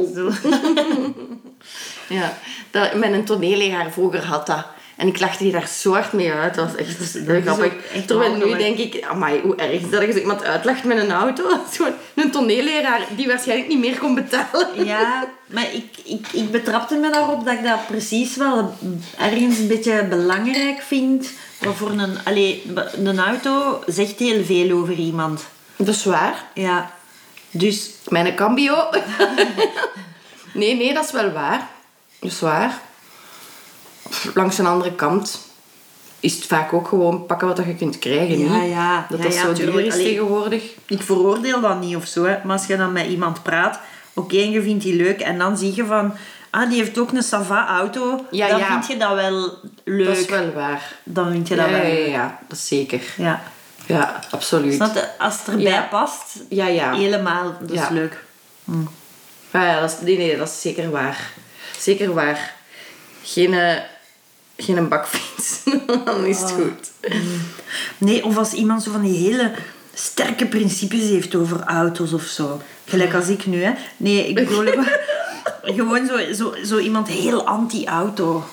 ja, dat, mijn toneelleraar vroeger had dat. En ik lachte die daar zo hard mee uit. Dat was echt heel grappig.
ook echt
Terwijl nu
walgelijk.
denk ik, amai, hoe erg is dat als iemand uitlacht met een auto? Dat is gewoon een toneelleraar die waarschijnlijk niet meer kon betalen.
Ja, maar ik, ik, ik betrapte me daarop dat ik dat precies wel ergens een beetje belangrijk vind. Want voor een, allee, een auto zegt heel veel over iemand.
Dat is waar.
Ja. Dus
Mijn cambio. nee, nee, dat is wel waar. Dat is waar. Langs een andere kant is het vaak ook gewoon pakken wat dat je kunt krijgen.
Ja,
niet?
ja.
Dat
Ja,
dat
ja,
zo duur
tuurlijk.
is
Allee.
tegenwoordig.
ik veroordeel dat niet of zo. Hè. Maar als je dan met iemand praat, oké, en je vindt die leuk. En dan zie je van, ah, die heeft ook een Sava auto.
Ja,
dan
ja.
vind je dat wel leuk.
Dat is wel waar.
Dan vind je
Ja,
dat
ja,
wel
ja,
leuk.
ja, dat is zeker.
Ja.
Ja, absoluut.
Snap je? Als het erbij
Ja.
past,
Ja, ja.
helemaal. Dat is
Ja.
leuk.
Ja, ja, dat is, nee, nee, dat is zeker waar. Zeker waar. Geen, eh, geen een bakfiets. Dan is het
Oh.
goed.
Nee, of als iemand zo van die hele sterke principes heeft over auto's of zo. Gelijk als ik nu, hè. Nee, ik bedoel... gewoon- gewoon zo, zo, zo iemand heel anti-auto.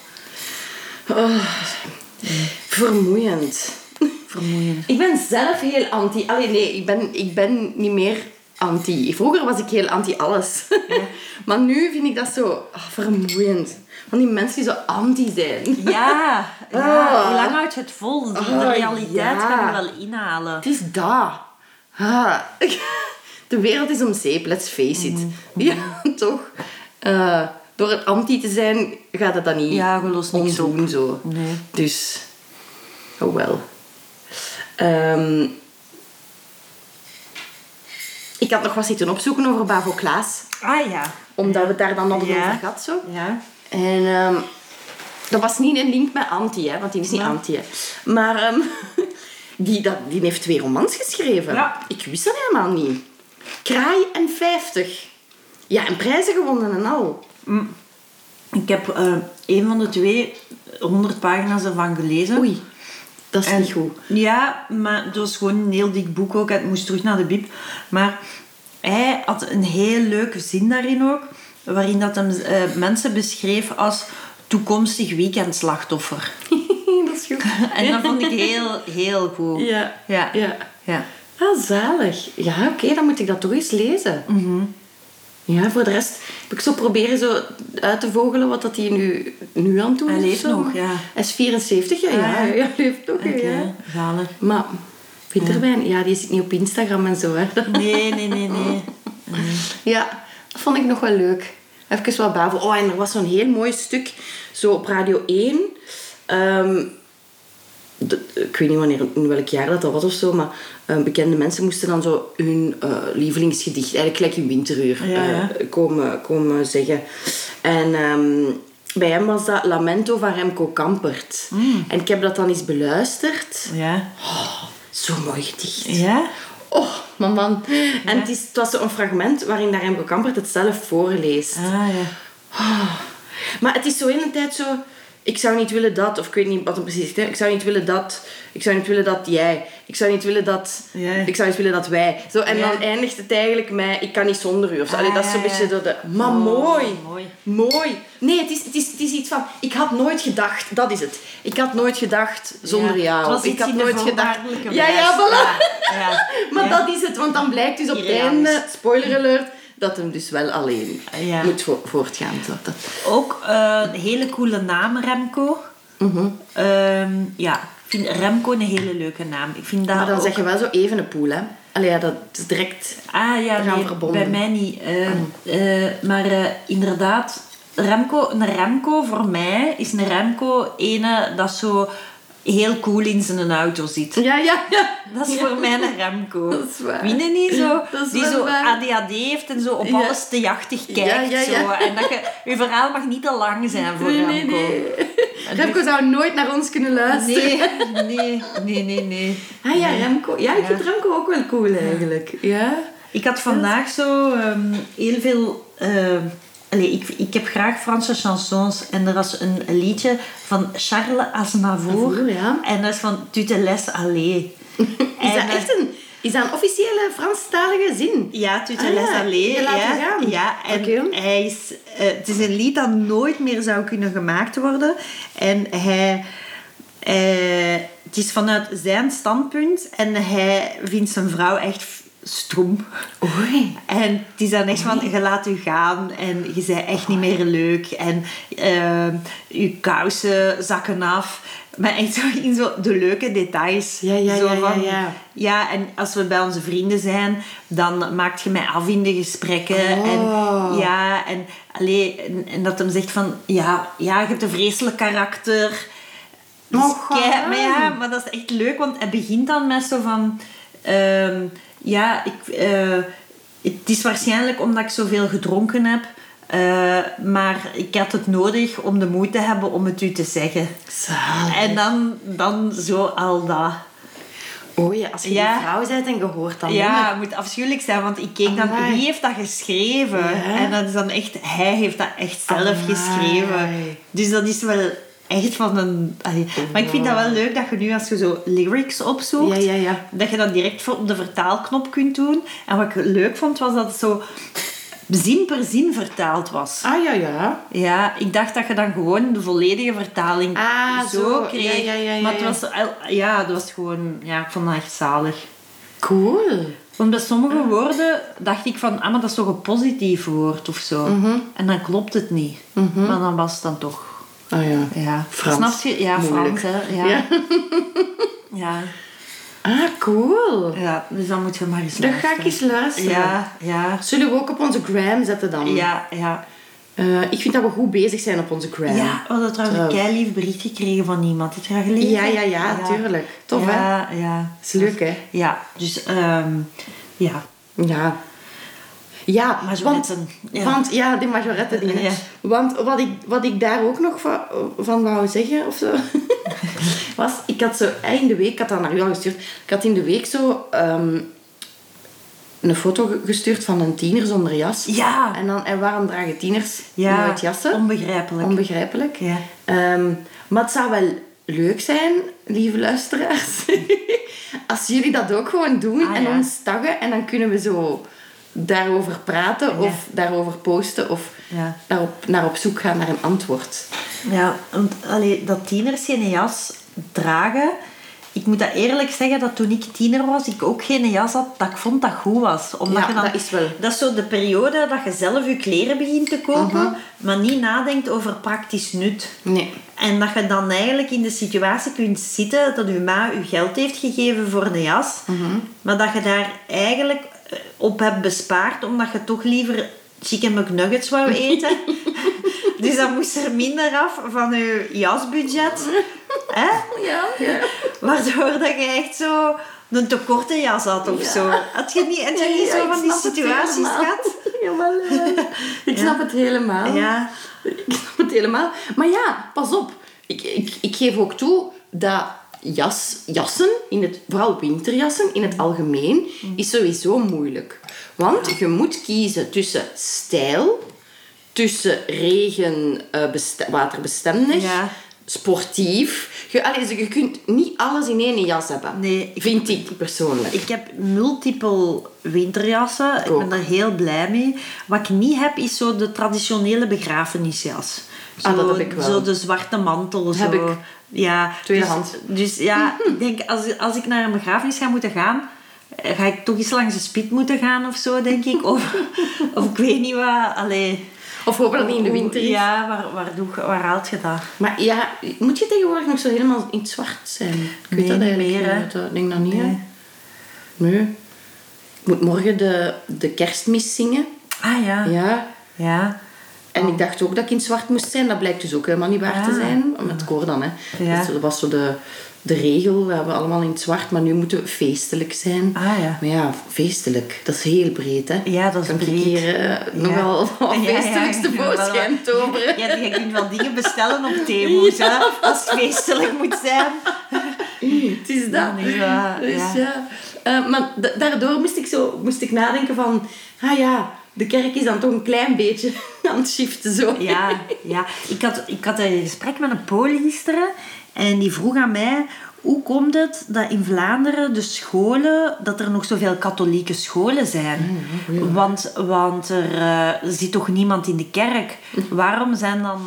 Vermoeiend.
Vermoeiend.
Ik ben zelf heel anti. Allee, nee, ik ben, ik ben niet meer anti. Vroeger was ik heel anti alles. maar nu vind ik dat zo ah, vermoeiend. Van die mensen die zo anti zijn.
Ja,
Ah.
ja. hoe lang houd je het vol? Die- De
Ah,
realiteit
ja.
kan je wel inhalen.
Het is dat. Ah. De wereld is om zeep, let's face it.
Mm.
Ja, toch? Eh, door het anti te zijn, gaat het dan niet
Ja, je lost niks op.
ontdoen zo.
Nee.
Dus, oh wel. Ehm, ik had nog wat zitten opzoeken over Bavo Klaas.
Ah ja.
Omdat we het daar dan nog
Ja.
over gehad zo.
Ja.
En ehm, dat was niet een link met Anti, hè, want die is niet
Ja.
Anti. Hè. Maar ehm, die, dat, die heeft twee romans geschreven.
Ja.
Ik wist dat helemaal niet. Kraai en 50. Ja, en prijzen gewonnen en al.
Ik heb eh, een van de twee 100 pagina's ervan gelezen.
Oei, dat is
En-
niet goed.
Ja, maar het was gewoon een heel dik boek ook. Het moest terug naar de bib. Maar hij had een heel leuke zin daarin ook. Waarin dat hem eh, mensen beschreef als toekomstig weekendslachtoffer.
dat is goed.
en dat vond ik heel, heel goed.
Ja.
Ja.
ja.
Ja.
Ah, zalig. Ja, oké, dan moet ik dat toch eens lezen.
Mhm.
Ja, voor de rest heb ik zo proberen zo uit te vogelen wat dat hij nu, nu aan het doen
Hij
is.
leeft
zo.
nog, ja.
Hij is 74, ja. ja,
Ah.
hij leeft nog,
Oké,
ja.
zalig.
Maar Winterwijn, ja, die zit niet op Instagram en zo, hè.
Nee, nee, nee, nee.
Ja, dat vond ik nog wel leuk. Even wat bavo. Oh, en er was zo'n heel mooi stuk, zo op Radio 1. Ehm, de- ik weet niet wanneer, in welk jaar dat, dat was of zo, maar eh, bekende mensen moesten dan zo hun eh, lievelingsgedicht, eigenlijk gelijk in winteruur,
Ja, ja.
eh, komen, komen zeggen. En ehm, bij hem was dat Lamento van Remco Kampert.
Mm.
En ik heb dat dan eens beluisterd.
Ja.
Zo'n mooi gedicht.
Ja?
Oh, man, man. En het, is, het was zo'n fragment waarin dat Remco Kampert het zelf voorleest.
Ah, ja.
Ah. Maar het is zo in de tijd zo... Ik zou niet willen dat, of ik weet niet wat het precies is. hè. Ik zou niet willen dat. Ik zou niet willen dat jij. Ik zou niet willen dat...
Ja.
Ik zou niet willen dat wij. Zo, en
Ja.
dan eindigt het eigenlijk met... Ik kan niet zonder u. Of zo. Allee, dat is zo'n
Ah, ja,
beetje
ja.
door de... Maar
Oh,
mooi.
mooi.
Mooi. Nee, het is, het, is, het is iets van... Ik had nooit gedacht. Dat is het. Ik had nooit gedacht zonder
Ja.
jou.
Het was
ik
iets
had
in de
nooit gedacht...
voorwaardelijke
Ja, ja,
wijs.
voilà.
Ja, ja.
Maar
Ja.
dat is het, want dan blijkt dus op het
Irrealistisch.
einde, spoiler alert, dat hem dus wel alleen
Ja.
moet vo- voortgaan. Dat, dat-
Ook eh, een hele coole naam, Remco.
Mhm.
Ehm, ja, ik vind Remco een hele leuke naam. Ik vind dat
Maar dan
ook-
zeg je wel zo even een poel, hè? Allee, ja, dat is direct...
Ah ja,
Eraan
nee,
verbonden.
bij mij niet. Eh, eh, maar eh, inderdaad, Remco, een Remco voor mij is een Remco ene dat zo heel cool in zijn auto zit.
Ja, ja, ja.
Dat is voor mij een Remco.
Dat is waar.
Wie er niet zo,
Dat is
die
wel
zo
waar.
ADHD heeft en zo op
Ja.
alles te jachtig kijkt.
Ja, ja, ja.
Zo. En dat je, je verhaal mag niet te lang zijn voor
Nee, nee,
Remco.
nee. Remco zou nooit naar ons kunnen luisteren.
Nee, nee, nee, nee, nee.
Ah ja, Remco. Ja, ik
Ja.
vind Remco ook wel cool eigenlijk. Ja?
Ik had vandaag zo ehm, heel veel... ehm, allee, ik, ik heb graag Franse chansons. En er was een liedje van Charles Aznavour.
Aznavour, ja.
En dat is van Tu te laisses aller.
Is dat
En,
echt een... Is dat een officiële Franstalige zin?
Ja, Tu te
Ah,
laisses
eh, ja.
aller.
Je laat
ja.
je gaan.
Ja, en
Oké.
hij is, eh, het is een lied dat nooit meer zou kunnen gemaakt worden. En hij... eh, het is vanuit zijn standpunt. En hij vindt zijn vrouw echt f- stroem.
Oh. Oei.
En het is dan echt van, je laat u gaan en je bent echt niet meer leuk. En ehm je kousen zakken af. Maar echt zo in zo de leuke details.
Ja, ja,
zo
ja, ja,
van,
ja.
Ja, en als we bij onze vrienden zijn, dan maakt je mij af in de gesprekken. En,
Oh.
ja, en, allee, en, en dat hem zegt van, ja, ja, je hebt een vreselijk karakter. Dus
Oh,
kei-
gaar.
maar ja, maar dat is echt leuk, want het begint dan met zo van... ehm, ja, ik, eh, het is waarschijnlijk omdat ik zoveel gedronken heb. eh, maar ik had het nodig om de moed te hebben om het u te zeggen.
Zalig.
En dan, dan zo al dat.
Oei, als je
Ja.
een vrouw bent en je hoort dat
Ja,
nummer.
het moet afschuwelijk zijn, want ik keek dan...
Amai.
Wie heeft dat geschreven?
Ja.
En dat is dan echt... Hij heeft dat echt zelf
Amai.
geschreven. Dus dat is wel echt van een... allee. Maar ik vind dat wel leuk dat je nu, als je zo lyrics opzoekt...
Ja, ja, ja.
Dat je dat direct voor- op de vertaalknop kunt doen. En wat ik leuk vond, was dat het zo zin per zin vertaald was.
Ah, ja, ja.
Ja, ik dacht dat je dan gewoon de volledige vertaling
Ah,
zo,
zo.
kreeg.
Ja, ja, ja,
maar het
ja, ja.
was... el- Ja, dat was gewoon... Ja, ik vond dat echt zalig.
Cool.
Want bij sommige woorden dacht ik van, ah, maar dat is toch een positief woord of zo.
Mhm.
En dan klopt het niet. Maar dan was het dan toch.
Ah ja.
Ja.
Mhm. Frans.
Snap je? Ja,
Moeilijk.
Frans, hè. Ja. Ja.
Ja.
ja.
Ah, cool.
dus dan moet je maar eens
Dan ga ik eens luisteren.
Ja, ja.
Zullen we ook op onze gram zetten dan?
Ja, ja.
Eh, ik vind dat we goed bezig zijn op onze gram.
Ja, we hadden trouwens een
Trouwens.
keilief bericht gekregen van iemand. Heb je dat gelezen?
Oh. Ja, ja, ja, tuurlijk. Tof, hè?
ja, Ja,
Is leuk, hè?
Ja, dus... ehm, ja.
Ja. Ja, want,
Majoretten, ja.
want ja, die majoretten dingen.
Ja.
Want wat ik, wat ik daar ook nog van, van wou zeggen of zo, was, ik had zo eh, in de week, ik had dat naar u al gestuurd, ik had in de week zo ehm, een foto ge- gestuurd van een tiener zonder jas.
Ja.
En, dan, en waarom dragen tieners
Ja,
nooit jassen?
onbegrijpelijk.
Onbegrijpelijk.
Ja.
Ehm, maar het zou wel leuk zijn, lieve luisteraars, als jullie dat ook gewoon doen
Ah,
en
ja.
ons taggen en dan kunnen we zo daarover praten of daarover posten of
Ja.
daarop, naar op zoek gaan naar een antwoord.
Ja, want allee, dat tieners geen jas, dragen. Ik moet dat eerlijk zeggen, dat toen ik tiener was, ik ook geen jas had, dat ik vond dat goed was. Omdat
Ja,
je dan,
dat is wel.
Dat is zo de periode dat je zelf je kleren begint te kopen, maar niet nadenkt over praktisch nut.
Nee.
En dat je dan eigenlijk in de situatie kunt zitten dat je ma je geld heeft gegeven voor een jas,
Mhm.
maar dat je daar eigenlijk eh, op hebt bespaard omdat je toch liever chicken McNuggets wou eten. dus dan moest er minder af van je jasbudget. Hè?
Ja, ja.
Waardoor dat je echt zo een te korte jas had of
Ja.
zo. Had je niet, had je niet zo van die situaties gehad?
Jawel. eh, Ik snap het helemaal.
Ja.
Ik snap het helemaal. Maar ja, pas op. Ik, ik, ik geef ook toe dat jas, jassen, in het, vooral winterjassen in het algemeen,
Mm.
is sowieso moeilijk. Want je moet kiezen tussen stijl, tussen regen, eh, beste- waterbestendig,
Ja.
sportief. Je, allee, dus je kunt niet alles in één jas hebben.
Nee, ik-
Vind ik persoonlijk.
Ik heb multiple winterjassen. Ik
Ook.
ben daar heel blij mee. Wat ik niet heb, is zo de traditionele begrafenisjas. Zo,
Ah, dat heb ik wel.
Zo de zwarte mantel. zo.
Heb ik.
Ja,
Tweedehands.
Dus, dus ja, ik denk, als, als ik naar een begrafenis ga moeten gaan... eh, Ga ik toch eens langs de spit moeten gaan of zo, denk ik. Of, of ik weet niet wat. Allee,
Of hopen dat het niet in de winter is.
Ja, waar, waar, doe, je- waar haalt je dat?
Maar ja, moet je tegenwoordig nog zo helemaal in het zwart zijn? Ik
Nee,
weet dat
niet
eigenlijk
meer, hè?
niet. Ik denk dat niet, hè?
Nee.
Nee. Ik moet morgen de, de kerstmis zingen.
Ah ja. Ja.
Ja. En ik dacht ook dat ik in het zwart moest zijn. Dat blijkt dus ook helemaal niet waar te
Ah.
zijn. Met koor dan, hè.
Ja.
Dus dat was zo de, de regel. We hebben allemaal in het zwart, maar nu moeten we feestelijk zijn.
Ah, ja.
Maar ja, feestelijk. Dat is heel breed, hè.
Ja, dat is
kan
breed.
ik hier eh, nogal wat
Ja, ja, ja,
feestelijks
ja, wel.
tevoorschijn toveren.
Ja, je kunt wel dingen bestellen op Temu's, hè, als het feestelijk moet zijn.
Het is dat.
Dan is dat,
dus
ja.
ja. Eh, maar da- daardoor moest ik, zo, moest ik nadenken van... Ah ja, de kerk is dan toch een klein beetje aan het shiften zo.
Ja, ja. Ik, had, ik had een gesprek met een Pool gisteren en die vroeg aan mij... Hoe komt het dat in Vlaanderen de scholen, dat er nog zoveel katholieke scholen zijn? Want, want er eh, zit toch niemand in de kerk? Waarom zijn dan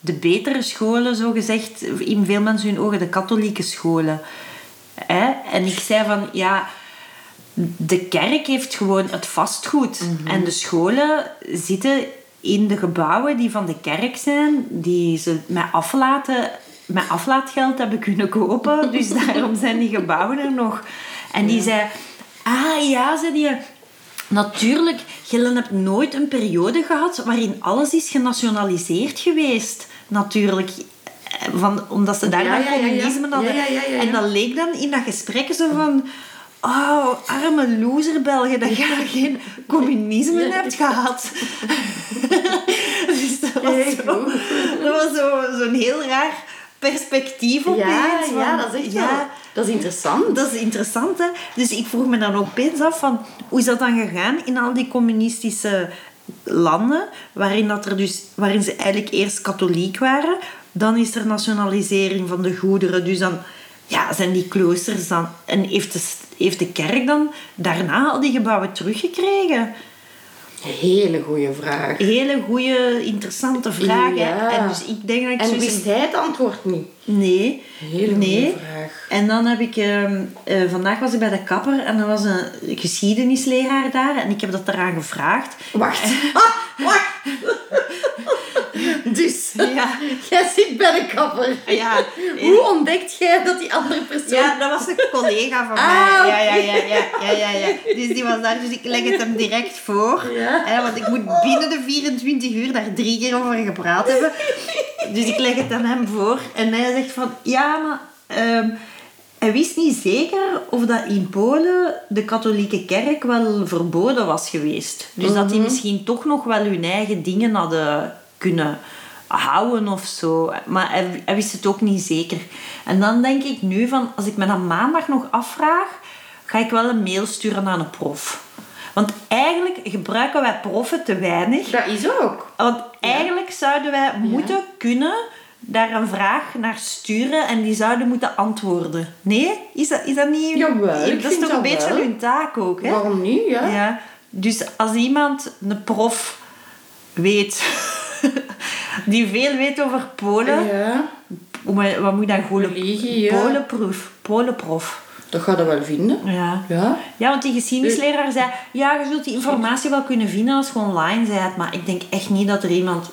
de betere scholen, zo gezegd, in veel mensen hun ogen de katholieke scholen? Hè? En ik zei van, ja, de kerk heeft gewoon het vastgoed.
Mhm.
En de scholen zitten in de gebouwen die van de kerk zijn, die ze met, aflaten, met aflaatgeld hebben kunnen kopen. Dus daarom zijn die gebouwen er nog. En die zei, ah ja, zei die, natuurlijk, Gillen hebt nooit een periode gehad waarin alles is genationaliseerd geweest. Natuurlijk, eh, van, omdat ze daar
Ja,
dat
ja, ja, ja.
communisme
Ja,
hadden.
ja, ja, ja,
En
ja.
dat leek dan in dat gesprek zo van... Oh, arme loser België, dat je geen communisme hebt gehad. dus dat was
Heel
zo-
goed.
dat was zo- zo'n heel raar perspectief op
ja, ja, dat is echt
ja,
wel... Dat is interessant.
Dat is interessant, hè. Dus ik vroeg me dan opeens af van... Hoe is dat dan gegaan in al die communistische landen... waarin, dat er dus, waarin ze eigenlijk eerst katholiek waren... Dan is er nationalisering van de goederen. Dus dan ja, zijn die kloosters dan... En heeft de, st- heeft de kerk dan daarna al die gebouwen teruggekregen?
Hele goede vraag.
Hele goede, interessante vragen.
Ja.
En dus ik denk dat ik
En
zoiets-
wist hij het antwoord niet?
Nee.
Hele
nee.
goede vraag.
En dan heb ik... ehm, eh, vandaag was ik bij de kapper en er was een geschiedenisleraar daar. En ik heb dat eraan gevraagd.
Wacht. Ah, wacht. dus,
Ja.
jij zit bij de kapper.
Ja.
Hoe ontdekt jij dat die andere persoon...
Ja, dat was een collega van
Ah,
mij. Ja, ja, ja, ja, ja, ja, ja. Dus die was daar, dus ik leg het hem direct voor.
Ja.
Hè, want ik moet binnen de 24 uur daar drie keer over gepraat hebben. Dus ik leg het aan hem voor. En hij zegt van, ja, maar... ehm, hij wist niet zeker of dat in Polen de katholieke kerk wel verboden was geweest. Dus dat die misschien toch nog wel hun eigen dingen hadden kunnen houden of zo. Maar hij, hij wist het ook niet zeker. En dan denk ik nu van, als ik me dat maandag nog afvraag, ga ik wel een mail sturen aan een prof. Want eigenlijk gebruiken wij proffen te weinig.
Dat is ook.
Want eigenlijk zouden wij moeten kunnen daar een vraag naar sturen en die zouden moeten antwoorden. Nee? Is dat, is dat niet...
Jawel, ik
dat is toch
vind
een
dat
beetje
wel.
hun taak ook, hè?
Waarom niet, ja?
Ja. Dus als iemand, een prof, weet... die veel weet over Polen,
Ja.
Hoe moet- Wat moet je dan gewoon...
Religie, ja.
Polenproef. Polenprof.
Dat gaat dat wel vinden.
Ja.
Ja.
Ja, want die geschiedenisleraar zei... Ja, je zult die informatie wel kunnen vinden als je online bent. Maar ik denk echt niet dat er iemand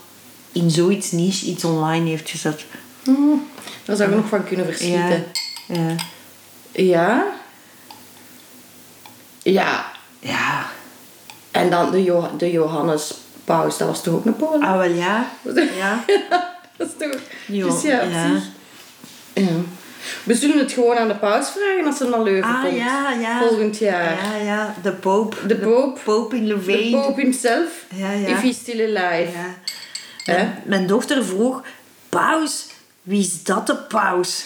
in zoiets niche iets online heeft gezet.
Daar zou ik nog van kunnen
Ja.
verschieten.
Ja.
Ja. Ja.
Ja.
En dan de, Jo- de Johannes Paus, dat was toch ook een Polen?
Ah, wel ja. Ja.
dat is toch...
Jo,
dus ja, op
ja.
zich. Ja. We zullen het gewoon aan de paus vragen als ze naar Leuven
Ah,
komt.
ja, ja.
Volgend jaar.
Ja, ja. De poop.
De poop.
poop in
De
Louvain.
poop himself.
Ja, ja.
If he's still alive.
Ja.
Hè?
Mijn, mijn dochter vroeg, paus, wie is dat de paus?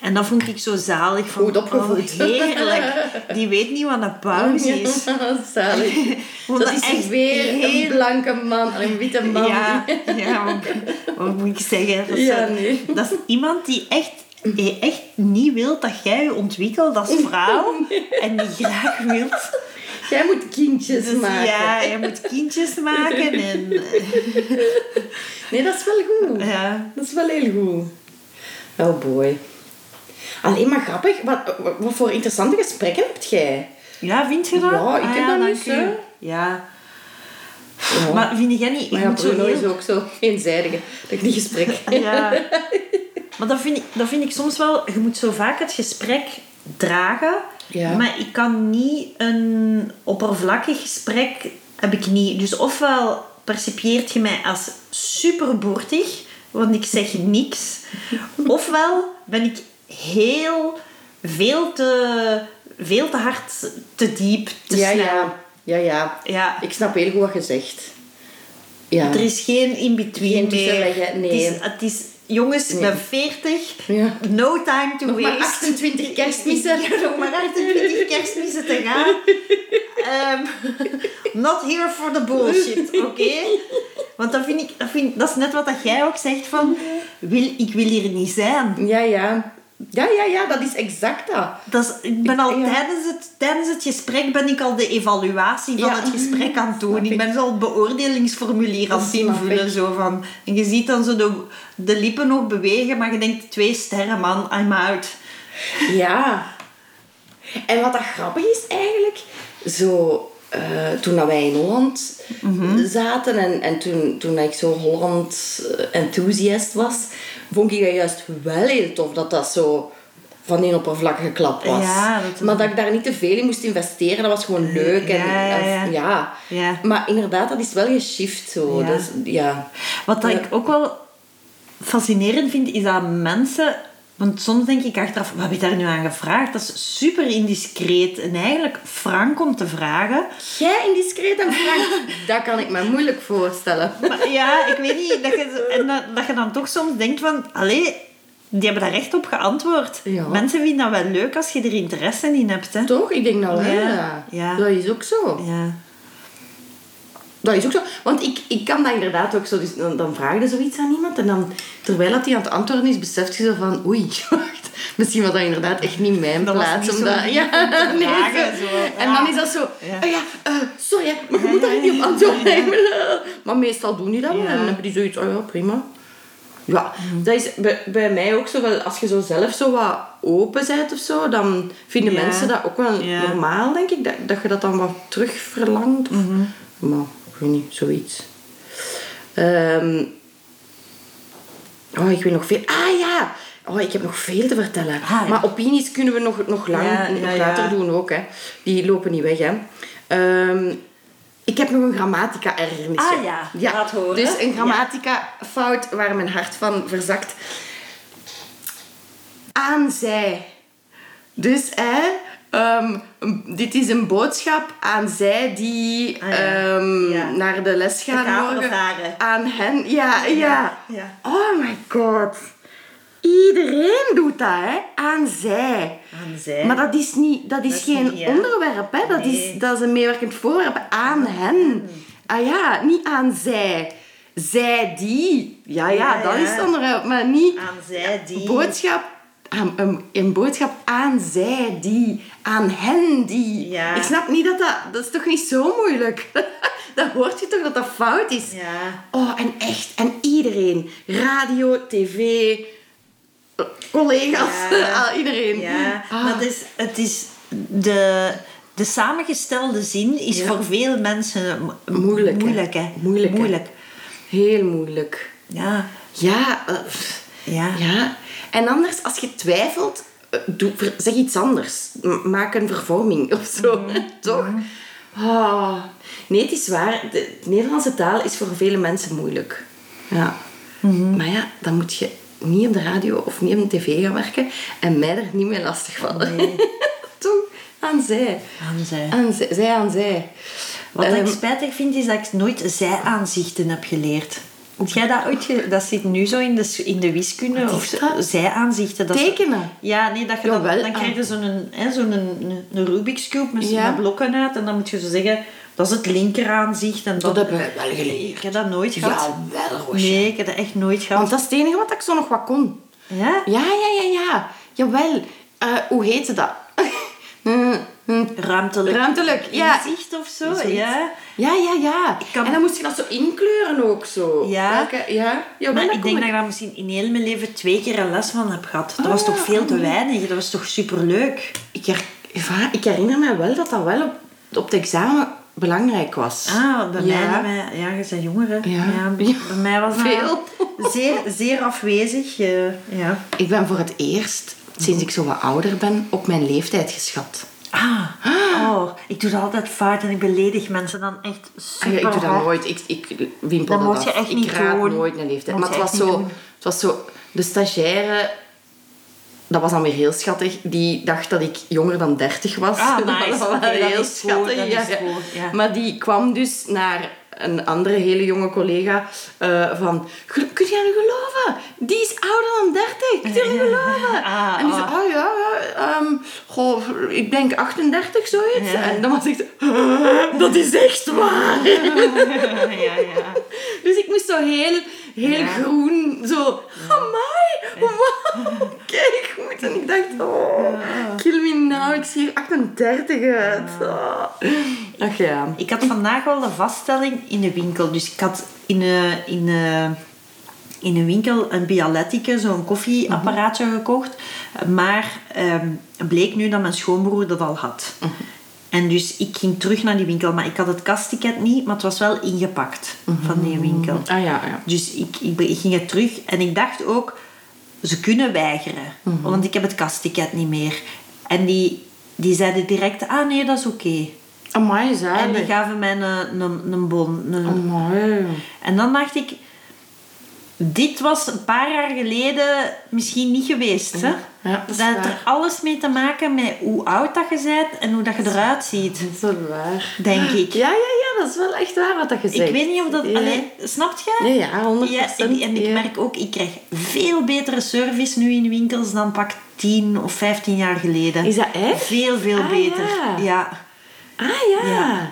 En dat vond ik zo zalig. Van,
Goed opgevoed.
oh, heerlijk. Die weet niet wat een paus is.
Zalig.
Vond
Dat
dat
is
echt
weer een
heel-
blanke man, een witte man.
Ja, ja wat, wat moet ik zeggen? Dat, is
Ja,
zo-
nee.
dat is iemand die echt, die echt niet wil dat jij je ontwikkelt als vrouw. En die graag wilt...
Jij moet kindjes
Dus
maken.
ja, je moet kindjes maken. En,
Nee, dat is wel goed.
Ja.
Dat is wel heel goed. Oh boy. Alleen maar grappig, wat, wat voor interessante gesprekken heb jij?
ja, vind je dat? Ah
Ja, ik heb dat
dank
niet,
u.
hè.
Ja.
Ja.
Maar vind jij niet... je
Maar ja,
moet zo
Bruno
heel-
is ook zo eenzijdige. Dat ik niet gesprek.
Ja. Maar dat vind, ik, dat vind ik soms wel... Je moet zo vaak het gesprek dragen.
Ja.
Maar ik kan niet een oppervlakkig gesprek... Heb ik niet. Dus ofwel percipieert je mij als superboertig. Want ik zeg niks. Ofwel ben ik heel... Veel te... Veel te hard, te diep, te
ja,
snel.
ja, ja, ja.
Ja.
Ik snap heel goed wat je zegt. Ja.
Er is geen in-between
Geen
meer.
tussenweg, hè? Nee.
Het is, het is, jongens, ik ben 40.
Ja.
No time to
Nog maar
waste.
28 kerstmissen.
Ja, nog maar 28 kerstmissen te gaan. Ehm, not here for the bullshit, oké? Want dat vind ik, dat, vind, ik- dat is net wat dat jij ook zegt van... Wil, ik wil hier niet zijn.
Ja, ja. Ja, ja, ja, dat is exact dat.
Dat is, ik ben al
Ja.
tijdens, het, tijdens het gesprek ben ik al de evaluatie van
Ja.
het gesprek aan het doen.
Snap
Ik ben zo al het beoordelingsformulier aan
Dat
het
snap
invullen.
ik.
Zo van. En je ziet dan zo de, de lippen nog bewegen, maar je denkt twee sterren man, I'm out.
Ja. En wat dat grappig is eigenlijk, zo, eh, toen dat wij in Holland
Mhm.
zaten en, en toen, toen ik zo Holland eh, enthusiast was, vond ik dat juist wel heel tof dat dat zo van die oppervlakkige klap was.
Ja, dat-
Maar dat ik daar niet te veel in moest investeren, dat was gewoon leuk. En,
Ja, ja,
en-
ja.
ja.
Ja.
Maar inderdaad, dat is wel geshift zo.
Ja.
Dus, ja.
Wat dat
Ja.
ik ook wel fascinerend vind, is dat mensen... Want soms denk ik achteraf, wat heb je daar nu aan gevraagd? Dat is super indiscreet. En eigenlijk frank om te vragen.
Jij indiscreet en frank, dat kan ik me moeilijk voorstellen.
Maar ja, ik weet niet. Dat je, zo- en dat, dat je dan toch soms denkt van... Allee, die hebben daar recht op geantwoord.
Ja.
Mensen vinden dat wel leuk als je er interesse in hebt. Hè?
Toch? Ik denk nou, hè,
Ja, ja.
dat is ook zo.
Ja.
Dat is ook zo. Want ik, ik kan dat inderdaad ook zo. Dus dan, dan vraag je zoiets aan iemand en dan, terwijl dat die aan het antwoorden is, beseft je zo van, oei, wacht, misschien was dat inderdaad echt niet mijn
Dat was
plaats.
niet zo
omdat,
lief
ja,
om te
nee,
vragen,
zo.
zo.
En dan
Ja.
is dat zo,
Ja.
"Ah ja, eh, sorry, hè, maar je moet daar niet op antwoorden. Maar meestal doen die dat wel
Ja.
en dan hebben die zoiets, oh ja, prima. Ja, Mhm. dat is bij, bij mij ook zo wel, als je zo zelf zo wat open bent of zo, dan vinden
Ja.
mensen dat ook wel
Ja.
normaal, denk ik, dat, dat je dat dan wat terug verlangt. Of,
Mhm.
Maar, ik weet niet, zoiets. Ehm, oh, ik wil nog veel... Ah, ja! Oh, ik heb nog veel te vertellen.
Ah, ja.
Maar opinies kunnen we nog, nog lang,
Ja,
nog
ja,
later
ja.
doen ook, hè. Die lopen niet weg, hè. Ehm, ik heb nog een grammatica-ergernis.
Ah, ja. Laat horen.
Dus een grammatica-fout waar mijn hart van verzakt. Aan zij. Dus hè, ehm, dit is een boodschap aan zij die
Ah, ja.
ehm,
Ja.
naar de les gaan.
kaperen
morgen.
varen.
Aan hen, ja, ja,
ja.
Oh my god. Iedereen doet dat, hè? Aan zij.
Aan zij.
Maar dat is, niet, dat is
Dat is
geen
niet, ja.
onderwerp, hè? Dat,
Nee.
is, dat is een meewerkend voorwerp. Aan hen. Ah ja, niet aan zij. Zij die. Ja, ja,
Ja,
dat
ja.
is het onderwerp. Maar niet
Aan zij die...
boodschap, aan- een, een boodschap aan zij die, aan hen die.
Ja.
Ik snap niet dat dat, dat is toch niet zo moeilijk. dan hoort je toch dat dat fout is.
Ja.
Oh, en echt, en iedereen. Radio, tv, collega's,
Ja.
ah, iedereen.
Ja,
Ah.
dat is, het is de, de samengestelde zin is
Ja.
voor veel mensen mo-
Moeilijk, hè?
Moeilijk, hè?
Moeilijk, hè?
moeilijk.
Heel moeilijk.
Ja.
Ja, eh, pff.
Ja.
ja. En anders, als je twijfelt, eh, doe, ver- zeg iets anders. M- maak een vervorming of zo.
Mhm.
Toch? Ah. Nee, het is waar. De Nederlandse taal is voor vele mensen moeilijk. Ja.
Mhm.
Maar ja, dan moet je niet op de radio of niet op de tv gaan werken en mij er niet mee lastigvallen. Toch? Aan zij.
Aan zij.
Aan zij, zij aan zij.
Wat
Ehm,
ik spijtig vind, is dat ik nooit zij-aanzichten heb geleerd. Heb jij dat ooit ge- Dat zit nu zo in de, s- in de wiskunde.
Wat
Of
is
zo-
dat?
zij-aanzichten. dat is-
Tekenen?
Ja, nee, dat je dan,
Jawel,
dan
ah.
krijg je zo'n hè, zo'n een, een Rubik's Cube met zo'n
Ja.
blokken uit. En dan moet je zo zeggen, dat is het linkeraanzicht. En
Dat hebben wij wel geleerd.
Ik heb dat nooit gehad.
Jawel, Roosje.
Nee, ik heb dat echt nooit
Want
gehad.
dat is het enige wat ik zo nog wat kon.
Ja?
Ja, ja, ja, ja. Jawel. Eh, hoe heette dat?
Oh,
Eh, Hmm, hmm.
Ruimtelijk.
Ruimtelijk, ja.
Inzicht of zo.
Zoiets.
Ja.
Ja, ja, ja.
kan-
En dan moest je dat zo inkleuren ook zo.
Ja.
Welke- ja. ja
Maar ik denk dat ik daar misschien in heel mijn leven twee keer een les van heb gehad. Dat was
Ah,
toch veel te
ah.
weinig? Dat was toch superleuk?
Ik, her- ja, ik herinner me wel dat dat wel op, op het examen belangrijk was.
Ah, bij
ja.
mij, bij mij- ja, je bent jonger, hè?
Ja.
bij bij mij was dat
Veel.
Zeer, zeer afwezig. eh, ja.
Ik ben voor het eerst, sinds ik zo wat ouder ben, op mijn leeftijd geschat.
Ah, oh, ik doe dat altijd fout en ik beledig mensen dan echt
Ah, ja,
super
ik doe dat
hard.
nooit. Ik, ik wimpel
Dat
dat
moet je
af.
echt
ik
niet
raad
doen.
nooit een leeftijd.
Moet
Maar
je
het was,
echt niet
zo,
doen.
het was zo... De stagiaire, dat was dan weer heel schattig. Die dacht dat ik jonger dan 30 was.
Ah,
Dat
nice.
was wel
Oké, dat
heel
is goed, dat
schattig.
is goed, ja.
Maar die kwam dus naar een andere hele jonge collega eh, van... "Gel- Kun jij nu geloven? Die is ouder dan 30. Kun je nu geloven?
Ah,
en die zei,
ah.
oh ja, ja, ehm, goh, ik denk 38, zoiets.
Ja.
En dan was ik zo, dat is echt waar.
ja, ja.
Dus ik moest zo heel, heel
Ja.
groen, zo, amai, wow, kijk goed. En ik dacht, oh, kill me now, ik zie hier 38 uit. Oh. Ach ja.
Ik had vandaag wel de vaststelling in de winkel. Dus ik had in een, in een, in een winkel een Bialettica, zo'n koffieapparaatje gekocht. Maar ehm, bleek nu dat mijn schoonbroer dat al had. En dus ik ging terug naar die winkel. Maar ik had het kastticket niet, maar het was wel ingepakt van die winkel.
Ah ja, ja.
Dus ik, ik, ben- ik ging het terug en ik dacht ook, ze kunnen weigeren, want ik heb het kastticket niet meer. En die, die zeiden direct, ah nee, dat is oké.
Amai,
En die
zalig.
gaven mij een, een, een bon. een-
Amai.
En dan dacht ik, dit was een paar jaar geleden misschien niet geweest. Hè?
Ja, dat is
heeft er
waar.
alles mee te maken met hoe oud dat je bent en hoe dat je eruit ziet,
Dat is wel waar.
denk ik.
Ja, ja, ja, dat is wel echt waar wat dat je zegt.
Ik weet niet of dat...
Ja.
Allee, snap je?
Nee, ja, 100%.
Ja, en, en ik
ja.
merk ook, ik krijg veel betere service nu in winkels dan pak 10 of 15 jaar geleden.
Is dat echt?
Veel, veel
Ah,
beter.
ja. Ah
Ja.
ja.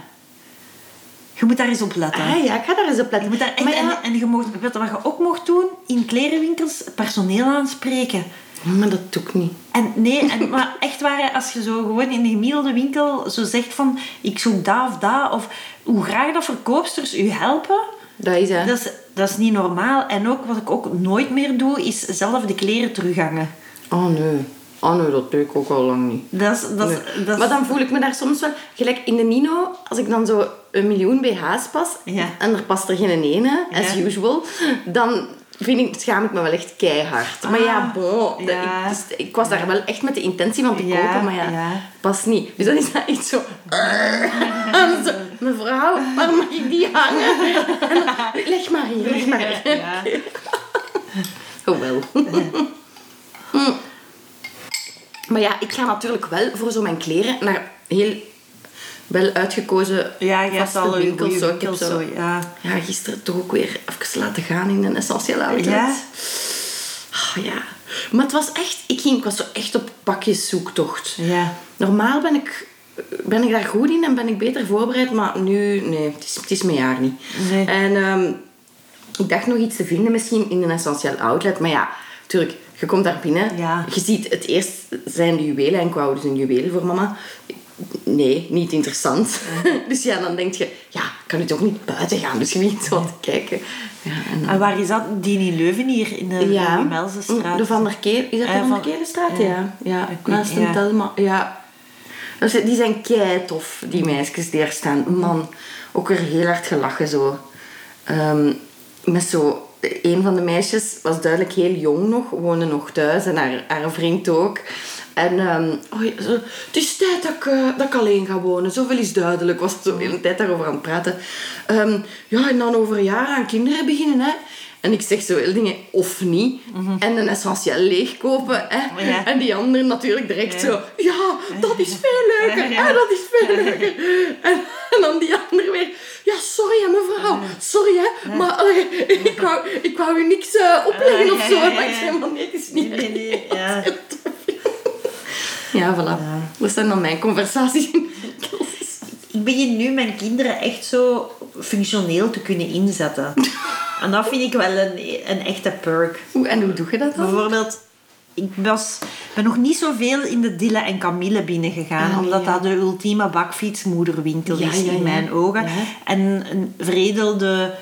Je moet daar eens op letten.
Ah ja, ik ga daar eens op letten.
Je moet daar echt,
maar, ja,
En, en je mocht, weet je wat je ook mocht doen? In klerenwinkels personeel aanspreken.
maar dat doe ik niet.
En nee, en, maar echt waar, hè, als je zo gewoon in de gemiddelde winkel zo zegt van... Ik zoek dat of dat. Of hoe graag dat verkoopsters u helpen.
Dat is hè.
Dat is, dat is niet normaal. En ook wat ik ook nooit meer doe, is zelf de kleren terughangen.
Oh nee. Oh nee, dat doe ik ook al lang niet.
Dat is... Dat is,
Nee.
dat is
Maar dan voel ik me daar soms wel... Gelijk in de Nino, als ik dan zo een miljoen BH's pas...
Ja.
En er past er geen ene, as
Ja.
usual. Dan vind ik, schaam ik me wel echt keihard. maar ja,
Ah,
bon. dat-
ja.
Ik, dus ik was daar wel echt met de intentie van te
Ja,
kopen. Maar ja,
ja.
past niet. Dus dan is dat echt zo... En zo, Mevrouw, waar mag ik die hangen? En dan, leg maar hier, leg maar hier.
Ja.
Oh wel. Mm. Maar ja, ik ga natuurlijk wel voor zo mijn kleren naar heel wel uitgekozen
Ja, je hebt
vaste
al een
winkels.
goede
Zo. Ik heb
winkel, zo.
zo,
Ja.
ja, gisteren toch ook weer even laten gaan in een essentiële outlet.
Ja?
Oh, ja. Maar het was echt... Ik, ging, ik was zo echt op pakjeszoektocht.
Ja.
Normaal ben ik, ben ik daar goed in en ben ik beter voorbereid. Maar nu... Nee, het is, het is mijn jaar niet.
Nee.
En ehm, ik dacht nog iets te vinden misschien in een essentieel outlet. Maar ja, natuurlijk... Je komt daar binnen.
Ja.
Je ziet het eerst zijn de juwelen. En ik wou dus een juwelen voor mama nee, niet interessant. dus ja, dan denk je, ja, ik kan nu toch niet buiten gaan, dus je moet iets wat kijken. Ja, en,
En waar is dat? Die in Leuven hier, in de
ja.
ja. Melzenstraat.
De Van der Keer,
Ja,
is dat de Van der
van-
Keerenstraat?
ja.
Ja. ja.
Ik weet-
Naast een
ja.
Telma, ja. Dat zijn- Die zijn kei tof, die meisjes die daar staan. Man, ook er heel hard gelachen zo. Ehm, met zo... Een van de meisjes was duidelijk heel jong nog, woonde nog thuis en haar, haar vriend ook. En ehm, oh ja, zo, het is tijd dat ik, eh, dat ik alleen ga wonen, zoveel is duidelijk. Was het zo de hele tijd daarover aan het praten. Ehm, ja, en dan over een jaar aan kinderen beginnen, hè. En ik zeg zo heel dingen, of niet. En een essentieel leegkopen, hè.
Mhm. Ja.
En die anderen natuurlijk direct
Ja.
zo, ja, dat is veel leuker.
Ja.
hè, dat is veel leuker. En, en dan die andere weer. Ja, sorry hè, mevrouw. Sorry hè. Maar eh, ik, wou, ik wou u niks eh, opleggen
Ah, ja,
of zo.
ja, ja,
Maar ik
ja.
zei, maar nee, het is
Nee,
niet
nee, nee. Ja.
Ja, voilà. Dat zijn dan mijn conversaties.
Ik begin nu mijn kinderen echt zo functioneel te kunnen inzetten. En dat vind ik wel een, een echte perk.
Hoe, en hoe doe je dat dan?
Bijvoorbeeld, ik was, ben nog niet zoveel in de Dille en Camille binnengegaan,
Ah,
omdat
ja.
dat de ultieme bakfietsmoederwinkel
Ja,
is
ja, ja.
in mijn ogen.
Ja.
En een veredelde